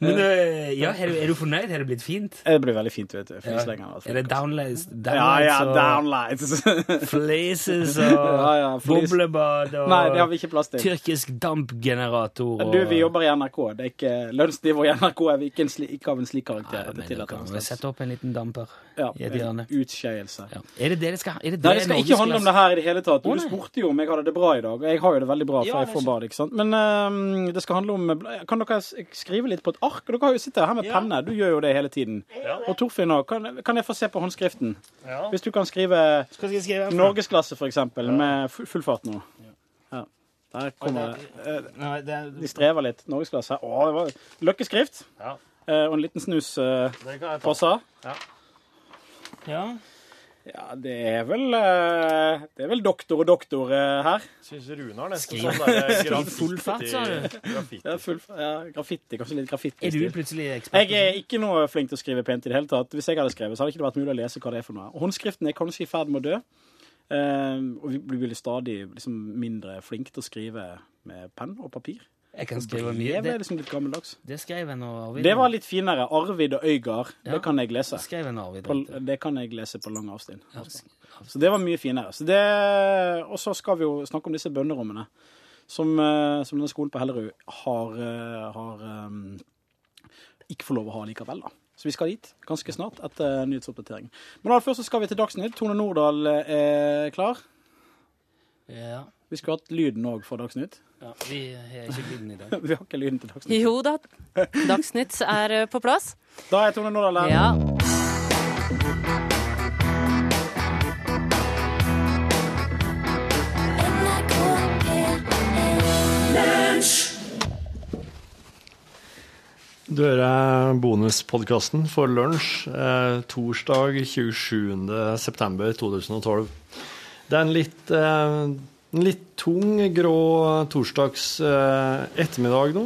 Speaker 2: Men eh, ja, er du, er du fornøyd? Har det blitt fint?
Speaker 7: Det blir veldig fint, vet du. for vi slenger alt.
Speaker 2: Er det downlights?
Speaker 7: Ja, ja,
Speaker 2: og-
Speaker 7: downlights.
Speaker 2: Fleeces og
Speaker 7: Ja, ja, fleece.
Speaker 2: boblebad og
Speaker 7: Nei, det har vi ikke plass til.
Speaker 2: tyrkisk dampgenerator. Og...
Speaker 7: Du, vi jobber i NRK. Det er ikke Lønnsnivået i NRK er vi ikke, en sli, ikke av en slik
Speaker 2: Ja,
Speaker 7: karakter.
Speaker 2: men
Speaker 7: det
Speaker 2: da
Speaker 7: tillater
Speaker 2: kan
Speaker 7: vi
Speaker 2: vi
Speaker 7: oss.
Speaker 2: sette opp en liten damper
Speaker 7: Ja,
Speaker 2: i et hjørne.
Speaker 7: Utskeielse.
Speaker 2: Ja. Er det det det skal er det
Speaker 7: Nei,
Speaker 2: det
Speaker 7: det skal
Speaker 2: Norges
Speaker 7: ikke handle om
Speaker 2: glass-
Speaker 7: det her i det hele tatt.
Speaker 2: Å,
Speaker 7: Du
Speaker 2: nei.
Speaker 7: spurte jo om jeg hadde det bra i dag, og jeg har jo det veldig bra, for
Speaker 2: Ja,
Speaker 7: jeg
Speaker 2: det er
Speaker 7: får bad, ikke sant. Men ehm, det skal handle om Kan dere s- skrive litt på et ark? Dere har jo sitter her med penne, du gjør jo det hele tiden. Og Torfinn òg. Kan, kan jeg få se på håndskriften? Hvis du kan skrive
Speaker 2: Hva skal jeg skrive? her for?
Speaker 7: norgesklasse, for eksempel, med fu- full fart nå. Ja. Der kommer eh,
Speaker 2: Nei, det er...
Speaker 7: De strever litt. Norgesklasse. Å, det var løkkeskrift.
Speaker 5: Ja.
Speaker 7: Eh, og en liten snus eh, på seg.
Speaker 2: Ja.
Speaker 7: Ja, det er vel eh, Det er vel doktor og doktor eh, her.
Speaker 5: Syns Runar nesten sånn
Speaker 7: eh,
Speaker 5: der graffiti-
Speaker 2: full fart, sa du?
Speaker 5: graffiti.
Speaker 7: Ja, full, ja, graffiti. Kanskje litt graffiti.
Speaker 2: Er du plutselig ekspert?
Speaker 7: Jeg er ikke noe flink til å skrive pent i det hele tatt. Hvis jeg hadde skrevet, så hadde ikke det vært mulig å lese hva det er for noe. Og Håndskriften er kanskje i ferd med å dø. Eh, og vi blir stadig liksom, mindre flinke til å skrive med penn og papir.
Speaker 2: Jeg kan skrive mye.
Speaker 7: Jeg ble
Speaker 2: Det,
Speaker 7: liksom litt gammeldags.
Speaker 2: det skrev jeg nå, Arvid.
Speaker 7: Det var litt finere. Arvid og Øygard. Det kan jeg lese.
Speaker 2: Det skrev jeg nå, Arvid.
Speaker 7: På,
Speaker 2: vet du.
Speaker 7: det kan jeg lese på lang avstand.
Speaker 2: sk-
Speaker 7: Så det var mye finere. Så det, og så skal vi jo snakke om disse bønnerommene som, eh, som denne skolen på Hellerud har, eh, har eh, ikke får lov å ha likevel. da. Så vi skal dit ganske snart etter nyhetsoppdateringen. Men aller først så skal vi til Dagsnytt. Tone Nordahl er klar.
Speaker 2: Ja.
Speaker 7: Vi skulle hatt lyden òg for Dagsnytt.
Speaker 2: ja. Vi har ikke lyden i dag.
Speaker 7: Vi har ikke lyden til Dagsnytt.
Speaker 8: Jo da, Dagsnytt er eh, på plass.
Speaker 7: Da er Tone Nordahl her.
Speaker 8: Ja.
Speaker 5: Du hører bonuspodkasten for lunsj eh, torsdag 27.9.2012. Det er en litt, eh, en litt tung, grå torsdags eh, ettermiddag nå.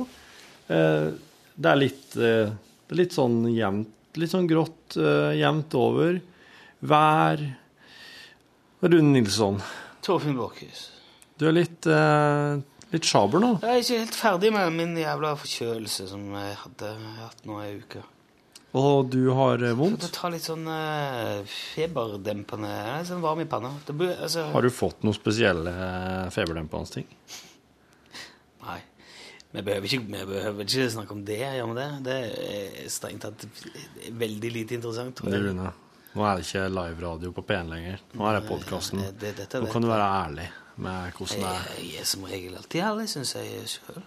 Speaker 5: Eh, det, er litt, eh, det er litt sånn jevnt, litt sånn grått eh, jevnt over. Vær Rune Nilsson,
Speaker 2: Torfinn Borchhus.
Speaker 5: du er litt, eh, litt sjaber nå.
Speaker 2: Jeg er ikke helt ferdig med min jævla forkjølelse som jeg hadde hatt nå ei uke.
Speaker 5: Og du har eh,
Speaker 2: Det
Speaker 5: vondt.
Speaker 2: tar litt sånn eh, feberdempende Nei, sånn varm i panna. Det blir, altså,
Speaker 5: Har du fått noen spesielle eh, feberdempende ting?
Speaker 2: Nei. Vi behøver, ikke, vi behøver ikke snakke om det. Gjør vi det? Det er strengt tatt veldig lite interessant. tror
Speaker 5: Det,
Speaker 2: jeg.
Speaker 5: Rune, nå er det ikke live-radio på P1 lenger. Nå er det podkasten.
Speaker 2: Nei, det- dette
Speaker 5: Nå
Speaker 2: vet
Speaker 5: kan du være ærlig med hvordan det er.
Speaker 2: Jeg, jeg er som regel alltid ærlig, syns jeg sjøl.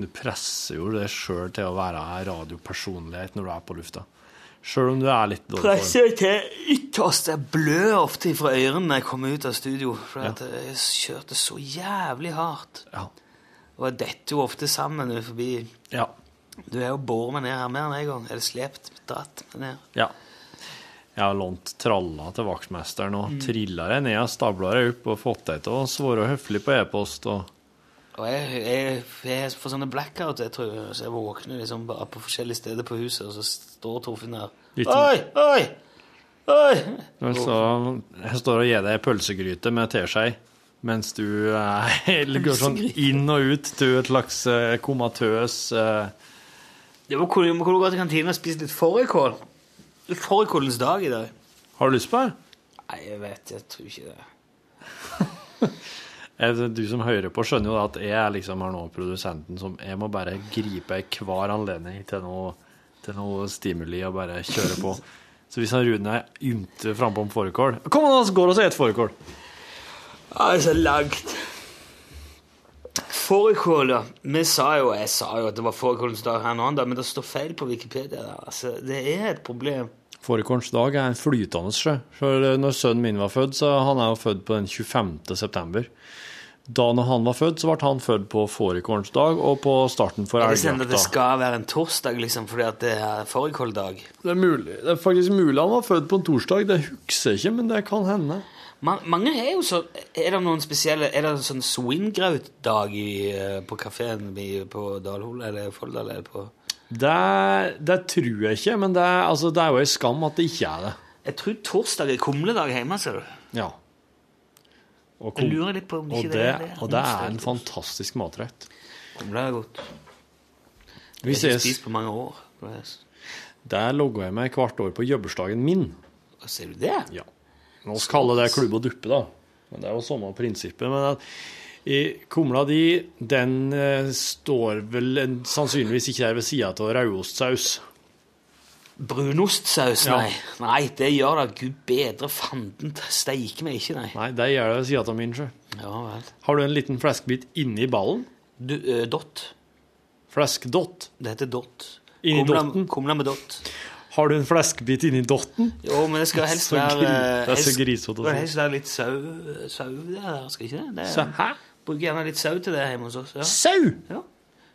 Speaker 5: Du presser jo deg sjøl til å være en radiopersonlighet når du er på lufta. Sjøl om du er litt dårlig form.
Speaker 2: Presser til ytterst. Jeg blør ofte fra ørene når jeg kommer ut av studio. For at jeg kjørte så jævlig hardt.
Speaker 5: Ja.
Speaker 2: Og jeg detter jo ofte sammen ut forbi
Speaker 5: Ja.
Speaker 2: Du har jo båret meg ned her mer enn en gang. Eller slept, dratt meg ned.
Speaker 5: ja. Jeg har lånt tralla til vaktmesteren og
Speaker 2: Mm.
Speaker 5: trilla det ned, stabla det opp og fått det til å svare høflig på e-post og
Speaker 2: Og jeg, jeg, jeg får sånne blackout, jeg tror. Så jeg våkner liksom bare på forskjellige steder på huset, og så står Torfinn der.
Speaker 5: Liten-
Speaker 2: Oi, oi, oi!
Speaker 5: Og så jeg står og gir deg ei pølsegryte med teskei mens du eh, går sånn inn og ut til et slags eh, komatøs eh,
Speaker 2: Det må kunne må kunne gå til kantina og spise litt fårikål. Det er Fårikålens dag i dag.
Speaker 5: Har du lyst på det?
Speaker 2: Nei, jeg vet, jeg tror ikke det.
Speaker 5: Eh, Du som hører på, skjønner jo da at jeg er liksom her nå produsenten som Jeg må bare gripe hver anledning til noe, til noe stimuli og bare kjøre på. Så hvis han Rune er ymte frampå om fårikål Kom, da så går vi og spiser fårikål!
Speaker 2: Ja, det er så langt. Fårikål, ja. Vi sa jo, jeg sa jo at det var fårikålens dag her nå, da, men det står feil på Wikipedia. da. Altså, det er et problem.
Speaker 5: Fårikålens dag er en flytende sjø. For eh, når sønnen min var født, så han er jo født på den 25. september. Da når han var født, så ble han født på fårikålens dag og på starten for
Speaker 2: Jeg kjenner at det
Speaker 5: elgjakta.
Speaker 2: skal være en torsdag, liksom, fordi at det er fårikåldag.
Speaker 5: Det er mulig. Det er faktisk mulig han var født på en torsdag. Det husker jeg ikke, men det kan hende.
Speaker 2: Man, mange er jo så Er det noen spesielle Er det en sånn swingrautdag i, eh, på kafeen på Dalhol eller Folldal eller på
Speaker 5: Det, det tror jeg ikke, men det, er- altså, det er jo en skam at det ikke er det.
Speaker 2: Jeg tror torsdag er kumledag hjemme, ser du.
Speaker 5: Ja. Og,
Speaker 2: Jeg lurer litt på om
Speaker 5: og,
Speaker 2: ikke det,
Speaker 5: det,
Speaker 2: er det.
Speaker 5: og det er en sånn- fantastisk matrett.
Speaker 2: Kumle er godt.
Speaker 5: Vi
Speaker 2: Jeg har ikke
Speaker 5: ses.
Speaker 2: spist på mange år.
Speaker 5: Der logga jeg meg hvert år på jobbsdagen min.
Speaker 2: Hva Ser du det?
Speaker 5: Ja. La oss kalle det klubb og duppe, da. Men det er jo samme prinsippet. Men at i kumla di, den eh, står vel en- sannsynligvis ikke der ved sida av rødostsaus.
Speaker 2: Brunostsaus,
Speaker 5: Ja.
Speaker 2: nei. Nei, det gjør det. Gud bedre fanden steike meg ikke, nei.
Speaker 5: Nei, det gjør det ved sida av min sjø.
Speaker 2: Ja vel.
Speaker 5: Har du en liten fleskebit inni ballen?
Speaker 2: Du, eh, dott.
Speaker 5: Fleskdott.
Speaker 2: Det heter dott.
Speaker 5: Inni
Speaker 2: Kumla-
Speaker 5: dotten?
Speaker 2: Kumla med dott.
Speaker 5: Har du en fleskebit inni dotten?
Speaker 2: Jo, men det skal helst
Speaker 5: Så
Speaker 2: være
Speaker 5: gri-
Speaker 2: eh,
Speaker 5: det er så
Speaker 2: helst-
Speaker 5: grisete å
Speaker 2: det skal
Speaker 5: si.
Speaker 2: Helst være litt sau, sau det der, skal ikke det? det
Speaker 5: Så,
Speaker 2: er,
Speaker 5: hæ?
Speaker 2: bruker gjerne litt sau til det hjemme hos oss. Ja.
Speaker 5: Sau!
Speaker 2: ja.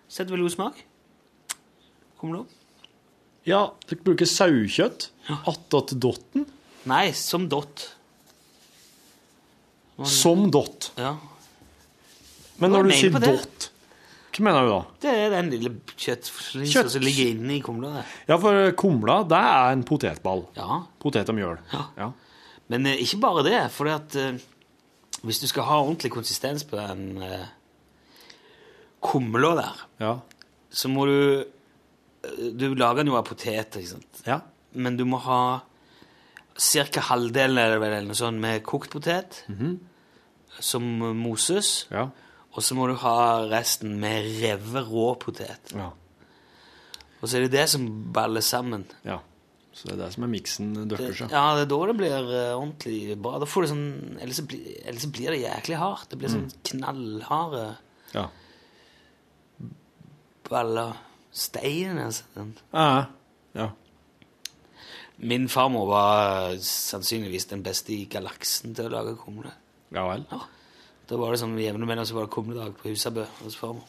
Speaker 2: Setter vel god smak. Kumla?
Speaker 5: Ja, dere bruker saukjøtt attåt dotten
Speaker 2: Nei, som dott.
Speaker 5: som dott.
Speaker 2: Ja.
Speaker 5: Men
Speaker 2: Hva
Speaker 5: når du
Speaker 2: mener
Speaker 5: sier
Speaker 2: du på det?
Speaker 5: dott, hva mener du da?
Speaker 2: Det er den lille kjøttslinsa
Speaker 5: Kjøtt.
Speaker 2: som ligger inne i kumla. det.
Speaker 5: Ja, for kumla, det er en potetball.
Speaker 2: Ja.
Speaker 5: Potet og mjøl.
Speaker 2: Ja. Men eh, ikke bare det, for at, eh, hvis du skal ha ordentlig konsistens på den eh, kumla der,
Speaker 5: Ja.
Speaker 2: så må du eh, Du lager den jo av poteter, ikke sant?
Speaker 5: Ja.
Speaker 2: men du må ha ca. halvdelen er det vel, eller noe sånt, med kokt potet, som moses,
Speaker 5: Ja.
Speaker 2: og så må du ha resten med revet rå potet.
Speaker 5: Ja.
Speaker 2: Og så er det det som baller sammen.
Speaker 5: ja. Så det er det som er miksen døpper
Speaker 2: Det,
Speaker 5: seg.
Speaker 2: ja, det er sånn. da det blir eh, ordentlig bra. Da får du sånn, ellers, så blir, ellers så blir det jæklig hardt. Det blir sånn knallharde
Speaker 5: Ja.
Speaker 2: baller. Stein, altså. Den.
Speaker 5: Ja. ja.
Speaker 2: Min farmor var eh, sannsynligvis den beste i galaksen til å lage kumle.
Speaker 5: Ja vel.
Speaker 2: Da var det sånn med jevne mellom så var det kumledag på Husabø hos farmor.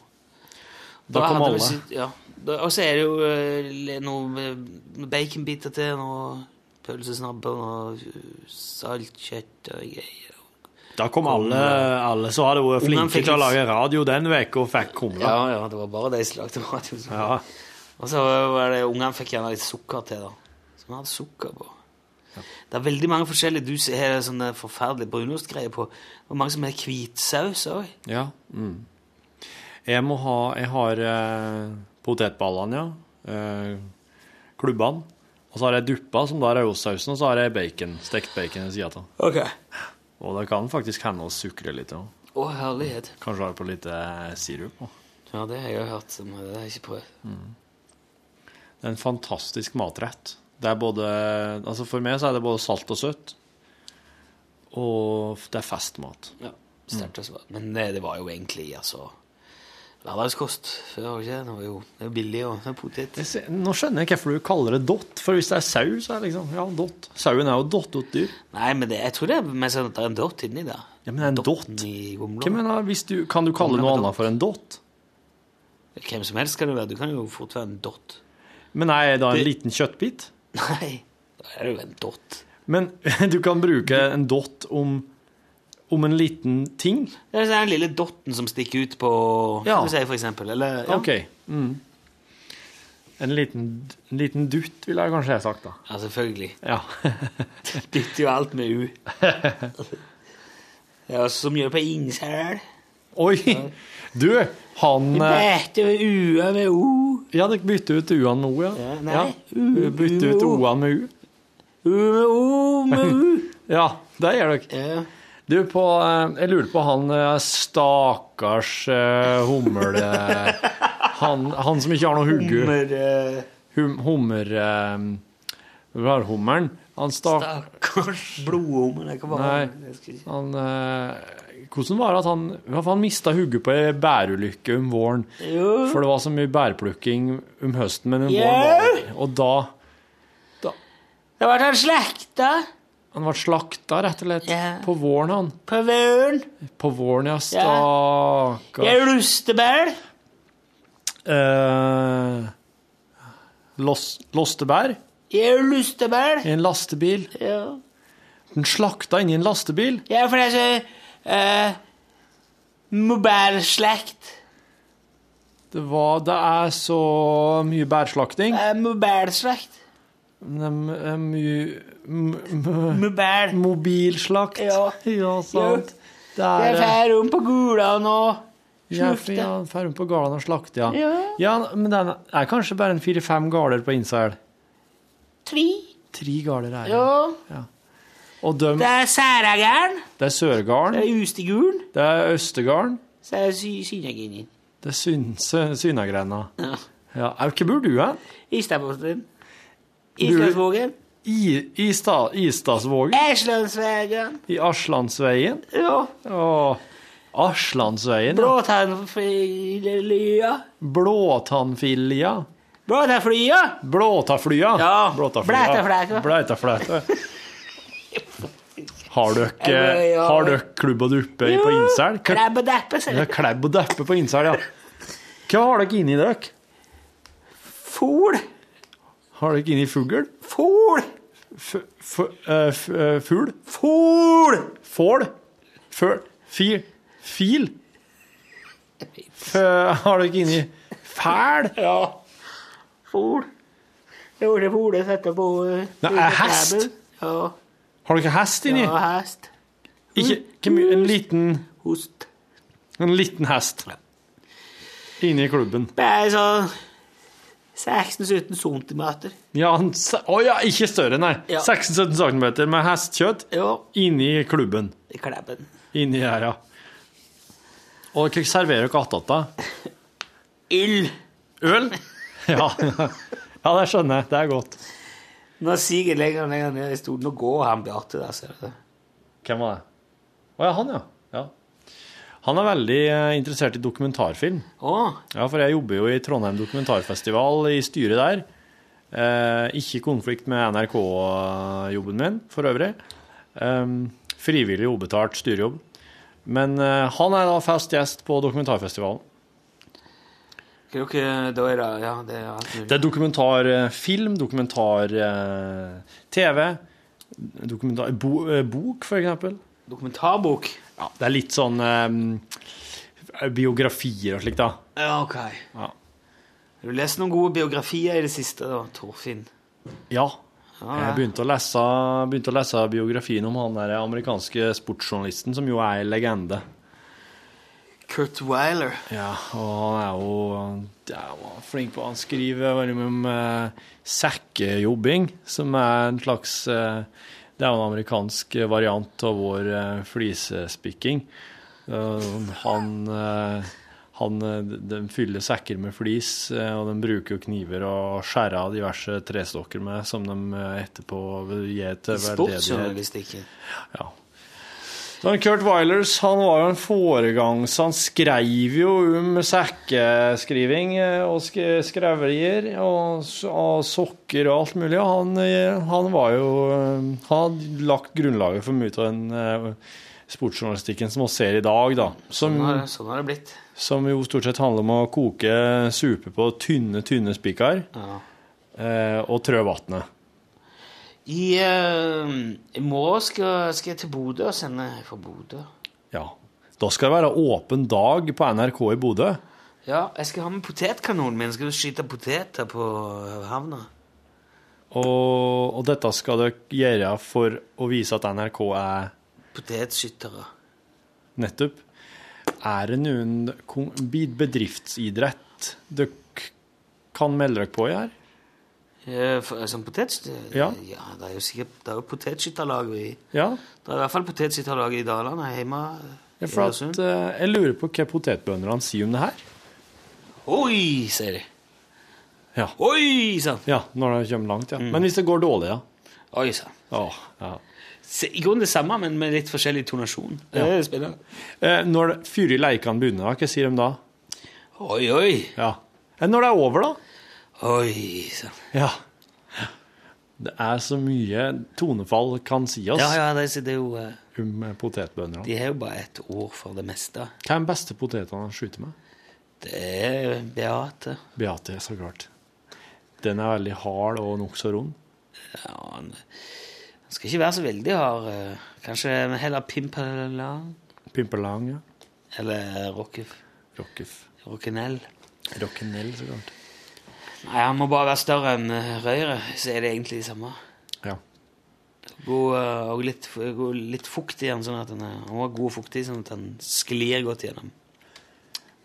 Speaker 5: Da kom
Speaker 2: hadde vi
Speaker 5: alle.
Speaker 2: sitt- ja. Da- Og så er det jo eh, le- noe eh, baconbiter til, noe pølsesnabber og eh, saltkjøtt og greier.
Speaker 5: Da kom alle, eh, alle som hadde vært
Speaker 2: Ungene
Speaker 5: flinke
Speaker 2: fikk
Speaker 5: til å
Speaker 2: litt-
Speaker 5: lage radio den uka, og fikk kumla.
Speaker 2: Ja, ja, det var bare de som lagde mat. liksom.
Speaker 5: Ja.
Speaker 2: Og så var det ungene fikk gjerne litt sukker til, da. Så vi hadde sukker på. Det er veldig mange forskjellige Du ser- har sånne forferdelige brunostgreier på. Det var mange som har hvitsaus òg.
Speaker 5: Ja. Mm. Jeg må ha Jeg har eh, potetballene, ja. Eh, klubbene. Og så har jeg duppa, som da er rødsausen, og så har jeg bacon. Stekt bacon ved sida av.
Speaker 2: Okay.
Speaker 5: Og det kan faktisk hende å sukre litt òg.
Speaker 2: Å, herlighet.
Speaker 5: Kanskje ha på litt eh, sirup òg.
Speaker 2: Ja, det har jeg jo hørt, men det har jeg ikke prøvd.
Speaker 5: Det er en fantastisk matrett. Det er både Altså for meg så er det både salt og søtt. Og f- det er festmat.
Speaker 2: Ja, sterkt å svare. Men eh, det, det var jo egentlig altså hverdagskost før. var det Ikke? Det var jo det var billig og det var potet.
Speaker 5: Jeg ser- Nå skjønner jeg hvorfor du kaller det dott, for hvis det er sau, så er det liksom Ja, dott. Sauen er jo dottet dyr.
Speaker 2: Nei, men det, jeg tror det er mer sånn at det er en dott inni der.
Speaker 5: Ja, men en dott
Speaker 2: I
Speaker 5: Hva
Speaker 2: gomla.
Speaker 5: mener, hvis du, Kan du kalle
Speaker 2: Humle
Speaker 5: noe
Speaker 2: med
Speaker 5: annet for en dott?
Speaker 2: Hvem som helst kan det være. Du kan jo fort være en dott.
Speaker 5: Men er jeg da en
Speaker 2: Det-
Speaker 5: liten kjøttbit?
Speaker 2: Nei, da er du jo en dott.
Speaker 5: Men du kan bruke en dott om, om en liten ting?
Speaker 2: Det er den lille dotten som stikker ut på
Speaker 5: Ja.
Speaker 2: Skal vi si, for eksempel. Eller, ja.
Speaker 5: OK. Mm. En, liten, en liten dutt, ville jeg kanskje ha sagt, da.
Speaker 2: ja, selvfølgelig.
Speaker 5: Ja.
Speaker 2: Bytter jo alt med U. Ja, og så mye på Ingsel.
Speaker 5: Oi! Du, han eh,
Speaker 2: Bytter jo U-a med O.
Speaker 5: Ja, dere bytter ut U-ene nå, ja.
Speaker 2: Ja, nei.
Speaker 5: ja.
Speaker 2: U-
Speaker 5: Bytter ut
Speaker 2: U- O.
Speaker 5: O-ene med U.
Speaker 2: U med O med U.
Speaker 5: Ja, det gjør dere.
Speaker 2: Ja.
Speaker 5: Du, på, eh, jeg lurer på han eh, stakkars eh, humle... Han, han som ikke har noe hugge.
Speaker 2: Hummer eh,
Speaker 5: Hum, hummer... Eh, Værhummeren. Han stakk...
Speaker 2: Stakkars blodhummer. Jeg kan bare
Speaker 5: Nei.
Speaker 2: Jeg skal ikke-
Speaker 5: Han, eh, hvordan var det at han ja, for Han mista hugget på ei bærulykke om våren.
Speaker 2: Jo.
Speaker 5: For det var så mye bærplukking om høsten, men om
Speaker 2: Ja.
Speaker 5: våren var det Og da
Speaker 2: Det ble han slekta
Speaker 5: Han ble slakta, rett og slett.
Speaker 2: Ja.
Speaker 5: På våren, han.
Speaker 2: på vøren.
Speaker 5: På våren, ja.
Speaker 2: Ja.
Speaker 5: Stakkars.
Speaker 2: Jeg rustebær.
Speaker 5: Eh, los, lostebær
Speaker 2: Jeg rustebær.
Speaker 5: i en lastebil.
Speaker 2: Ja.
Speaker 5: Den slakta inni en lastebil.
Speaker 2: Ja, for det er så eh, Mobilslekt.
Speaker 5: Det, var, det er så mye bærslakting.
Speaker 2: Eh, Mobilslekt.
Speaker 5: Det er mye m- m-
Speaker 2: Mobil.
Speaker 5: Mobilslakt.
Speaker 2: Ja.
Speaker 5: sant. Det
Speaker 2: Jeg
Speaker 5: er eh,
Speaker 2: fer om på gula nå.
Speaker 5: Ja,
Speaker 2: slukte.
Speaker 5: ja, ferdig på gårdene og slakte, ja.
Speaker 2: Ja.
Speaker 5: Men den er kanskje bare en fire-fem gårder på Innsel.
Speaker 2: Tre.
Speaker 5: Tre gårder er det.
Speaker 2: Ja.
Speaker 5: Og dem,
Speaker 2: Det er særagarn.
Speaker 5: det er Sørgarden,
Speaker 2: Det er usteguren.
Speaker 5: det er Østergarden,
Speaker 2: Så er det sy synagogen.
Speaker 5: det er Syn- Sø- Synagrenda.
Speaker 2: Ja.
Speaker 5: Ja, au, Hvor bor du hen?
Speaker 2: Istaposten. Islandsvågen.
Speaker 5: I, i, sta, I Stasvågen?
Speaker 2: Æslandsvegen.
Speaker 5: I Aslandsveien?
Speaker 2: Ja.
Speaker 5: Åh, Aslandsveien, ja.
Speaker 2: Bråtannflya.
Speaker 5: Blåtannfilja?
Speaker 2: Bråtannflya.
Speaker 5: Blåtaflya?
Speaker 2: Ja,
Speaker 5: Blætaflæta.
Speaker 2: blætaflæta.
Speaker 5: Blætaflæta. Har dere,
Speaker 2: Ja, ja.
Speaker 5: har dere klubb og duppe på Innsel? K-
Speaker 2: Klebb og deppe,
Speaker 5: Det
Speaker 2: sier
Speaker 5: er Klebb og deppe på Innsel, ja. Hva har dere inni dere?
Speaker 2: Fol.
Speaker 5: Har dere inni fugl?
Speaker 2: Fol.
Speaker 5: F- f- eh, f- eh, Fugl?
Speaker 2: Fol.
Speaker 5: Fål? Føl? Fil? Fil? Fø, har dere inni fæl? Ja.
Speaker 2: Fol. Det var det folet satte på eh,
Speaker 5: Nei, er hest?
Speaker 2: klebben. Ja.
Speaker 5: Har dere hest inni?
Speaker 2: ja, hest.
Speaker 5: Ikke, hvor mye- en liten,
Speaker 2: Host.
Speaker 5: en liten hest. Inni klubben.
Speaker 2: Bare sånn 16-17 centimeter.
Speaker 5: Ja, han, se- å ja, ikke større, nei.
Speaker 2: Ja.
Speaker 5: 16-17 cm med hestkjøtt
Speaker 2: Ja.
Speaker 5: inni klubben.
Speaker 2: I klebben.
Speaker 5: Inni her, ja. Og hva serverer dere attåt, da?
Speaker 2: Ild.
Speaker 5: Øl? Ja. ja, det skjønner jeg. Det er godt.
Speaker 2: Nå siger jeg lenger og lenger ned i stolen. Nå går han Bjarte der, ser du det.
Speaker 5: Hvem var det? Å ja, han, ja. ja. Han er veldig eh, interessert i dokumentarfilm.
Speaker 2: Å,
Speaker 5: Ja, for jeg jobber jo i Trondheim dokumentarfestival i styret der. Eh, ikke i konflikt med NRK-jobben min, for øvrig. Eh, frivillig ubetalt styrejobb. Men eh, han er da fast gjest på dokumentarfestivalen.
Speaker 2: kan dere Da er det Ja, det er alt mulig.
Speaker 5: Det er dokumentarfilm, dokumentar-TV, dokumentar, bo, eh, bok, for eksempel.
Speaker 2: Dokumentarbok.
Speaker 5: Ja, det er litt sånn eh, biografier og slikt, da.
Speaker 2: Ja, OK.
Speaker 5: Ja.
Speaker 2: Har du lest noen gode biografier i det siste, da, Torfinn?
Speaker 5: Ja.
Speaker 2: ja.
Speaker 5: Jeg begynte å, lese, begynte å lese biografien om han der amerikanske sportsjournalisten, som jo er en legende.
Speaker 2: Kurt Weiler.
Speaker 5: Ja, og han er jo han er jo flink på Han skriver veldig mye om eh, sekkejobbing, som er en slags eh, Det er jo en amerikansk variant av vår eh, flisespikking. Eh, han eh, han eh, de fyller sekker med flis, eh, og de bruker jo kniver og skjærer av diverse trestokker med, som de eh, etterpå vil gi til veldedighet.
Speaker 2: Sportsjournalistikken.
Speaker 5: Ja. Så han Kurt Weilers han var jo en foregangs... Han skrev jo om sekkeskriving eh, og sk- skreverier og, s- og sokker og alt mulig. Og han, eh, han var jo eh, Han hadde lagt grunnlaget for mye av den eh, sportsjournalistikken som vi ser i dag, da. Som,
Speaker 2: Sånn har, sånn har det blitt.
Speaker 5: som jo stort sett handler om å koke supe på tynne, tynne spiker
Speaker 2: Ja.
Speaker 5: eh, og trø vannet.
Speaker 2: I, eh, I morgen skal, skal jeg til Bodø og sende fra Bodø.
Speaker 5: Ja. Da skal det være åpen dag på NRK i Bodø.
Speaker 2: Ja, jeg skal ha med potetkanonen min. Skal du skyte poteter på havna?
Speaker 5: Og, og dette skal dere gjøre for å vise at NRK er
Speaker 2: Potetskyttere.
Speaker 5: nettopp Er det noen kon- bedriftsidrett dere kan melde dere på i her?
Speaker 2: Eh, for- Som potetskytter?
Speaker 5: Ja.
Speaker 2: ja. Det er jo sikkert det er jo potetskytterlag i
Speaker 5: Ja?
Speaker 2: Det er i hvert fall potetskytterlag i Dalane hjemme.
Speaker 5: Ja, for at,
Speaker 2: Egersund.
Speaker 5: eh, jeg lurer på hva potetbøndene sier om det her.
Speaker 2: Oi, sier de.
Speaker 5: Ja.
Speaker 2: Oi sann!
Speaker 5: ja, når det kommer langt, ja. Men hvis det går dårlig, ja.
Speaker 2: Oi sann.
Speaker 5: Åh, ja.
Speaker 2: Se, I grunnen det samme, men med litt forskjellig tonasjon. Det er spennende.
Speaker 5: Eh, når det- Fyri leikene begynner, da, hva sier de da?
Speaker 2: Oi, oi.
Speaker 5: Ja. Eh, når det er over, da?
Speaker 2: Oi sann.
Speaker 5: Ja. Det er så mye tonefall kan si oss
Speaker 2: Ja, ja, det, er- det er jo eh,
Speaker 5: om eh, potetbøndene.
Speaker 2: De har jo bare ett ord for det meste.
Speaker 5: Hva er den beste poteten å skyte med?
Speaker 2: Det er Beate.
Speaker 5: Beate, så klart. Den er veldig hard og nokså rund.
Speaker 2: Ja, han, han skal ikke være så veldig hard. eh. Kanskje heller Pimperlang
Speaker 5: Pimperlang, ja.
Speaker 2: eller Rockef.
Speaker 5: Rockef.
Speaker 2: Rockinell.
Speaker 5: Rockinell, så klart.
Speaker 2: Nei, han må bare være større enn eh, røret, så er det egentlig det samme.
Speaker 5: Ja.
Speaker 2: God, eh, og litt, god- litt fukt i den, sånn at den er, han var god og fuktig, sånn at den sklir godt gjennom.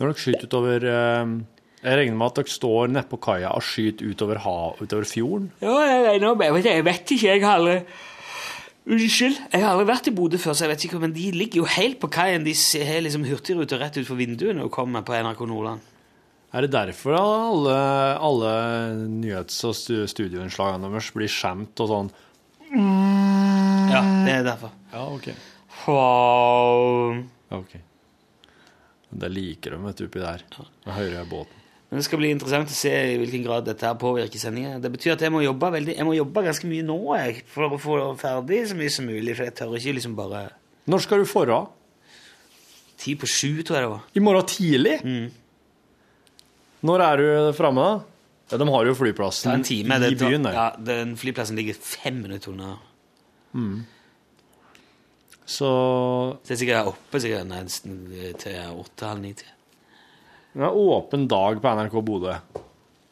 Speaker 5: Når dere skyter utover eh, Jeg regner med at dere står nede på kaia og skyter utover, ha, utover fjorden.
Speaker 2: Ja, jeg, jeg, jeg, vet, jeg vet ikke, jeg har aldri Unnskyld, jeg har aldri vært i Bodø før, så jeg vet ikke, men de ligger jo helt på kaien. De ser- har liksom hurtigruta rett ut for vinduene og kommer på NRK Nordland.
Speaker 5: Er det derfor alle, alle nyhets- og stu- studioinnslagene deres blir skjemt og sånn?
Speaker 2: Ja,
Speaker 5: Eh.
Speaker 2: det er derfor.
Speaker 5: Ja, OK.
Speaker 2: Wow.
Speaker 5: Ja, ok. Det liker de, vet du, oppi der. Jeg hører jeg båten.
Speaker 2: Men det skal bli interessant å se i hvilken grad dette her påvirker sendingen. Det betyr at jeg må jobbe veldig, jeg må jobbe ganske mye nå jeg, for å få ferdig så mye som mulig, for jeg tør ikke liksom bare
Speaker 5: Når skal du forra?
Speaker 2: Ti på sju, tror jeg det var.
Speaker 5: I morgen tidlig? Når er du framme, da? Ja, de har jo
Speaker 2: Det er
Speaker 5: flyplassen
Speaker 2: en time.
Speaker 5: i
Speaker 2: Det, tar-
Speaker 5: byen, der.
Speaker 2: ja, den flyplassen ligger fem minutter unna.
Speaker 5: Så
Speaker 2: Så jeg er sikkert oppe sikkert nesten til åtte-halv ni.
Speaker 5: det er åpen dag på NRK Bodø.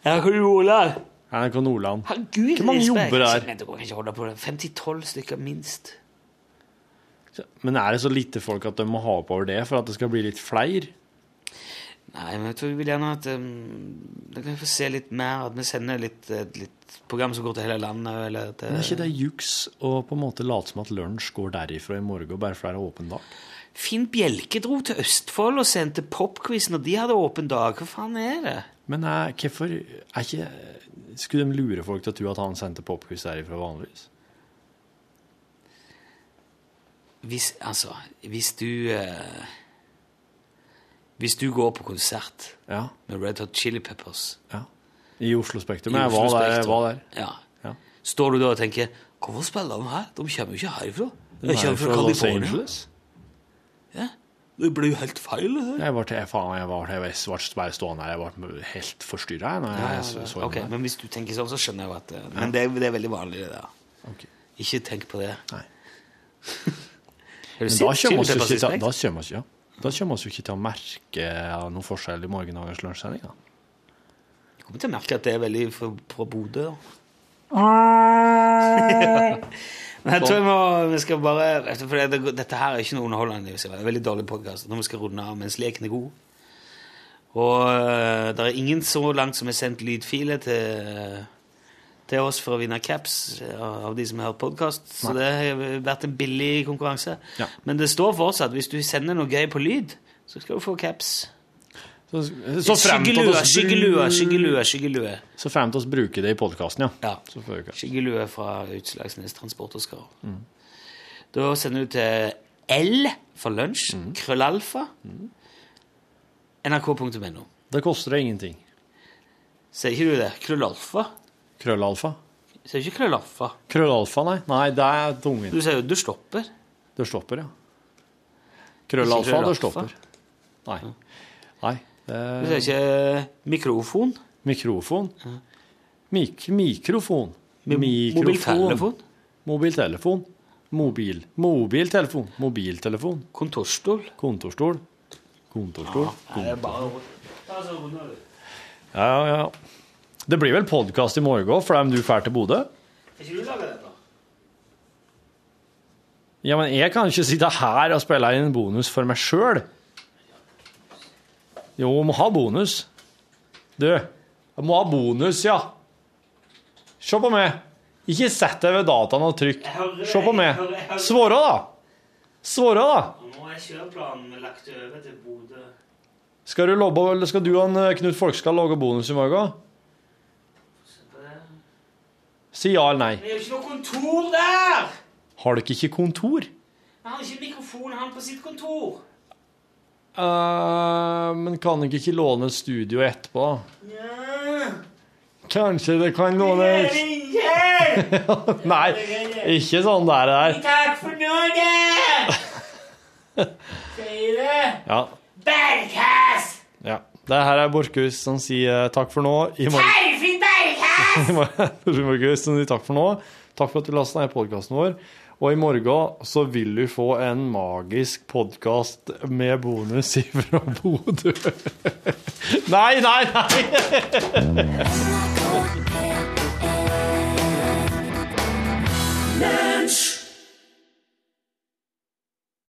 Speaker 2: Ja, hvor er Olav?
Speaker 5: NRK Nordland.
Speaker 2: Herregud,
Speaker 5: Hvor mange
Speaker 2: Lisbeth.
Speaker 5: jobber der?
Speaker 2: Men du kan ikke holde på det. 5-12 stykker, minst.
Speaker 5: Men er det så lite folk at de må ha oppover det for at det skal bli litt flere?
Speaker 2: Nei, men jeg tror vi vil gjerne at um, Da kan vi få se litt mer, at vi sender litt, et litt program som går til hele landet. Eller til,
Speaker 5: Men er ikke det juks å på en måte late som at lunsj går derifra i morgen, bare for det er åpen dag?
Speaker 2: Finn Bjelke dro til Østfold og sendte popquiz når de hadde åpen dag. Hva faen er det?
Speaker 5: Men er, hvorfor er ikke Skulle de lure folk til å tro at han sendte popquiz derifra vanligvis?
Speaker 2: Hvis, altså, hvis du eh, Hvis du går på konsert
Speaker 5: Ja.
Speaker 2: med Red Hot Chili Peppers
Speaker 5: ja. I Oslo Spektrum.
Speaker 2: i
Speaker 5: Jeg
Speaker 2: Oslo
Speaker 5: var der. jeg
Speaker 2: Spektrum.
Speaker 5: Var der.
Speaker 2: Ja.
Speaker 5: Ja.
Speaker 2: Står du da og tenker 'Hvorfor spiller de her? De kommer jo ikke herifra.' De,
Speaker 5: Jeg
Speaker 2: kommer fra
Speaker 5: Los
Speaker 2: California.
Speaker 5: Angeles.
Speaker 2: Ja. Det blir jo helt feil, det her.
Speaker 5: Jeg var til, faen, jeg var, jeg var bare stående her. Jeg ble helt forstyrra når jeg så, så
Speaker 2: Ok,
Speaker 5: den der.
Speaker 2: men hvis du tenker sånn, så skjønner jeg jo at det, Men det, er- det er veldig vanlig, det der.
Speaker 5: Ok.
Speaker 2: Ikke tenk på det.
Speaker 5: Nei.
Speaker 2: Har du
Speaker 5: Men
Speaker 2: sett
Speaker 5: da kommer vi
Speaker 2: Chili
Speaker 5: ikke,
Speaker 2: Peppers
Speaker 5: til- da
Speaker 2: Respect?
Speaker 5: kommer vi- ja. Da kommer vi jo ikke til å merke noen forskjell i morgendagens lunsjsending. da.
Speaker 2: Du kommer til å merke at det er veldig fra, fra Bodø. da. Men jeg tror jeg må, vi skal bare vet du, For det, dette her er ikke noe underholdende. Det er en veldig dårlig podkast. Nå skal vi runde av mens leken er god. Og øh, det er ingen så langt som har sendt lydfiler til, til oss for å vinne caps øh, av de som har hørt podkast. Så det har vært en billig konkurranse.
Speaker 5: Ja.
Speaker 2: Men det står fortsatt hvis du sender noe gøy på lyd, så skal du få caps.
Speaker 5: Så, så fremt at
Speaker 2: Skyggelue,
Speaker 5: oss-
Speaker 2: skyggelue, skyggelue. skyggelue.
Speaker 5: Så fremt oss bruker det i podkasten, ja.
Speaker 2: Ja.
Speaker 5: Så får vi ikke.
Speaker 2: Skyggelue fra Utslagsnes Transport og Skarv. Da sender du til L for lunsj, krøllalfa, nrk.no.
Speaker 5: Det koster deg ingenting.
Speaker 2: Ser ikke du det? Krøllalfa?
Speaker 5: Krøllalfa.
Speaker 2: Ser ikke krøllalfa?
Speaker 5: Krøllalfa, nei. Nei, det er tungen.
Speaker 2: Du sier jo du stopper.
Speaker 5: Det stopper, ja. Krøllalfa
Speaker 9: Ikke
Speaker 5: hadde stått der. Nei. Nei.
Speaker 9: Men
Speaker 5: Det
Speaker 9: Det
Speaker 5: er
Speaker 9: er
Speaker 2: eh,
Speaker 9: ikke mikrofon.
Speaker 5: mikrofon. Mik mikrofon. Mikrofon.
Speaker 9: Mobiltelefon.
Speaker 5: Mobiltelefon. Mobil. Mobiltelefon. Mobiltelefon.
Speaker 9: Kontorstol.
Speaker 5: Kontorstol. Kontorstol. Ja, ja, ja. Det blir vel podkast i morgen for dem du drar til Bodø? Ja, men jeg kan ikke sitte her og spille inn en bonus for meg sjøl. Jo, må ha bonus. Du, jeg må ha bonus, ja. Se på meg. Ikke sett deg ved dataen og trykk. Se på meg. Svare, da. Svare, da.
Speaker 9: Nå er kjøreplanen lagt over til Bodø.
Speaker 5: Skal du, lobbe, eller skal du og han, eh, Knut Folkskall lage bonus i morgen? Si ja eller nei.
Speaker 9: Det er jo ikke noe kontor der!
Speaker 5: Har dere ikke kontor?
Speaker 9: Han har ikke mikrofon han på sitt kontor.
Speaker 5: Eh, men kan dere ikke låne et studio etterpå? Kanskje det kan låne Nei, ikke sånn der. der.
Speaker 9: Takk for nå, da! Sier det.
Speaker 5: Ja,
Speaker 9: Berghaus!
Speaker 5: ja. Det her er Borchhus som sier eh, takk for nå. I morgen,
Speaker 9: Eifrid Berghaus!
Speaker 5: i morgen Torfinn Borchhus som sier takk for nå. Takk for at du lasta ned podkasten vår. Og i morgen så vil du få en magisk podkast med bonus fra Bodø. Nei, nei, nei!
Speaker 10: NRK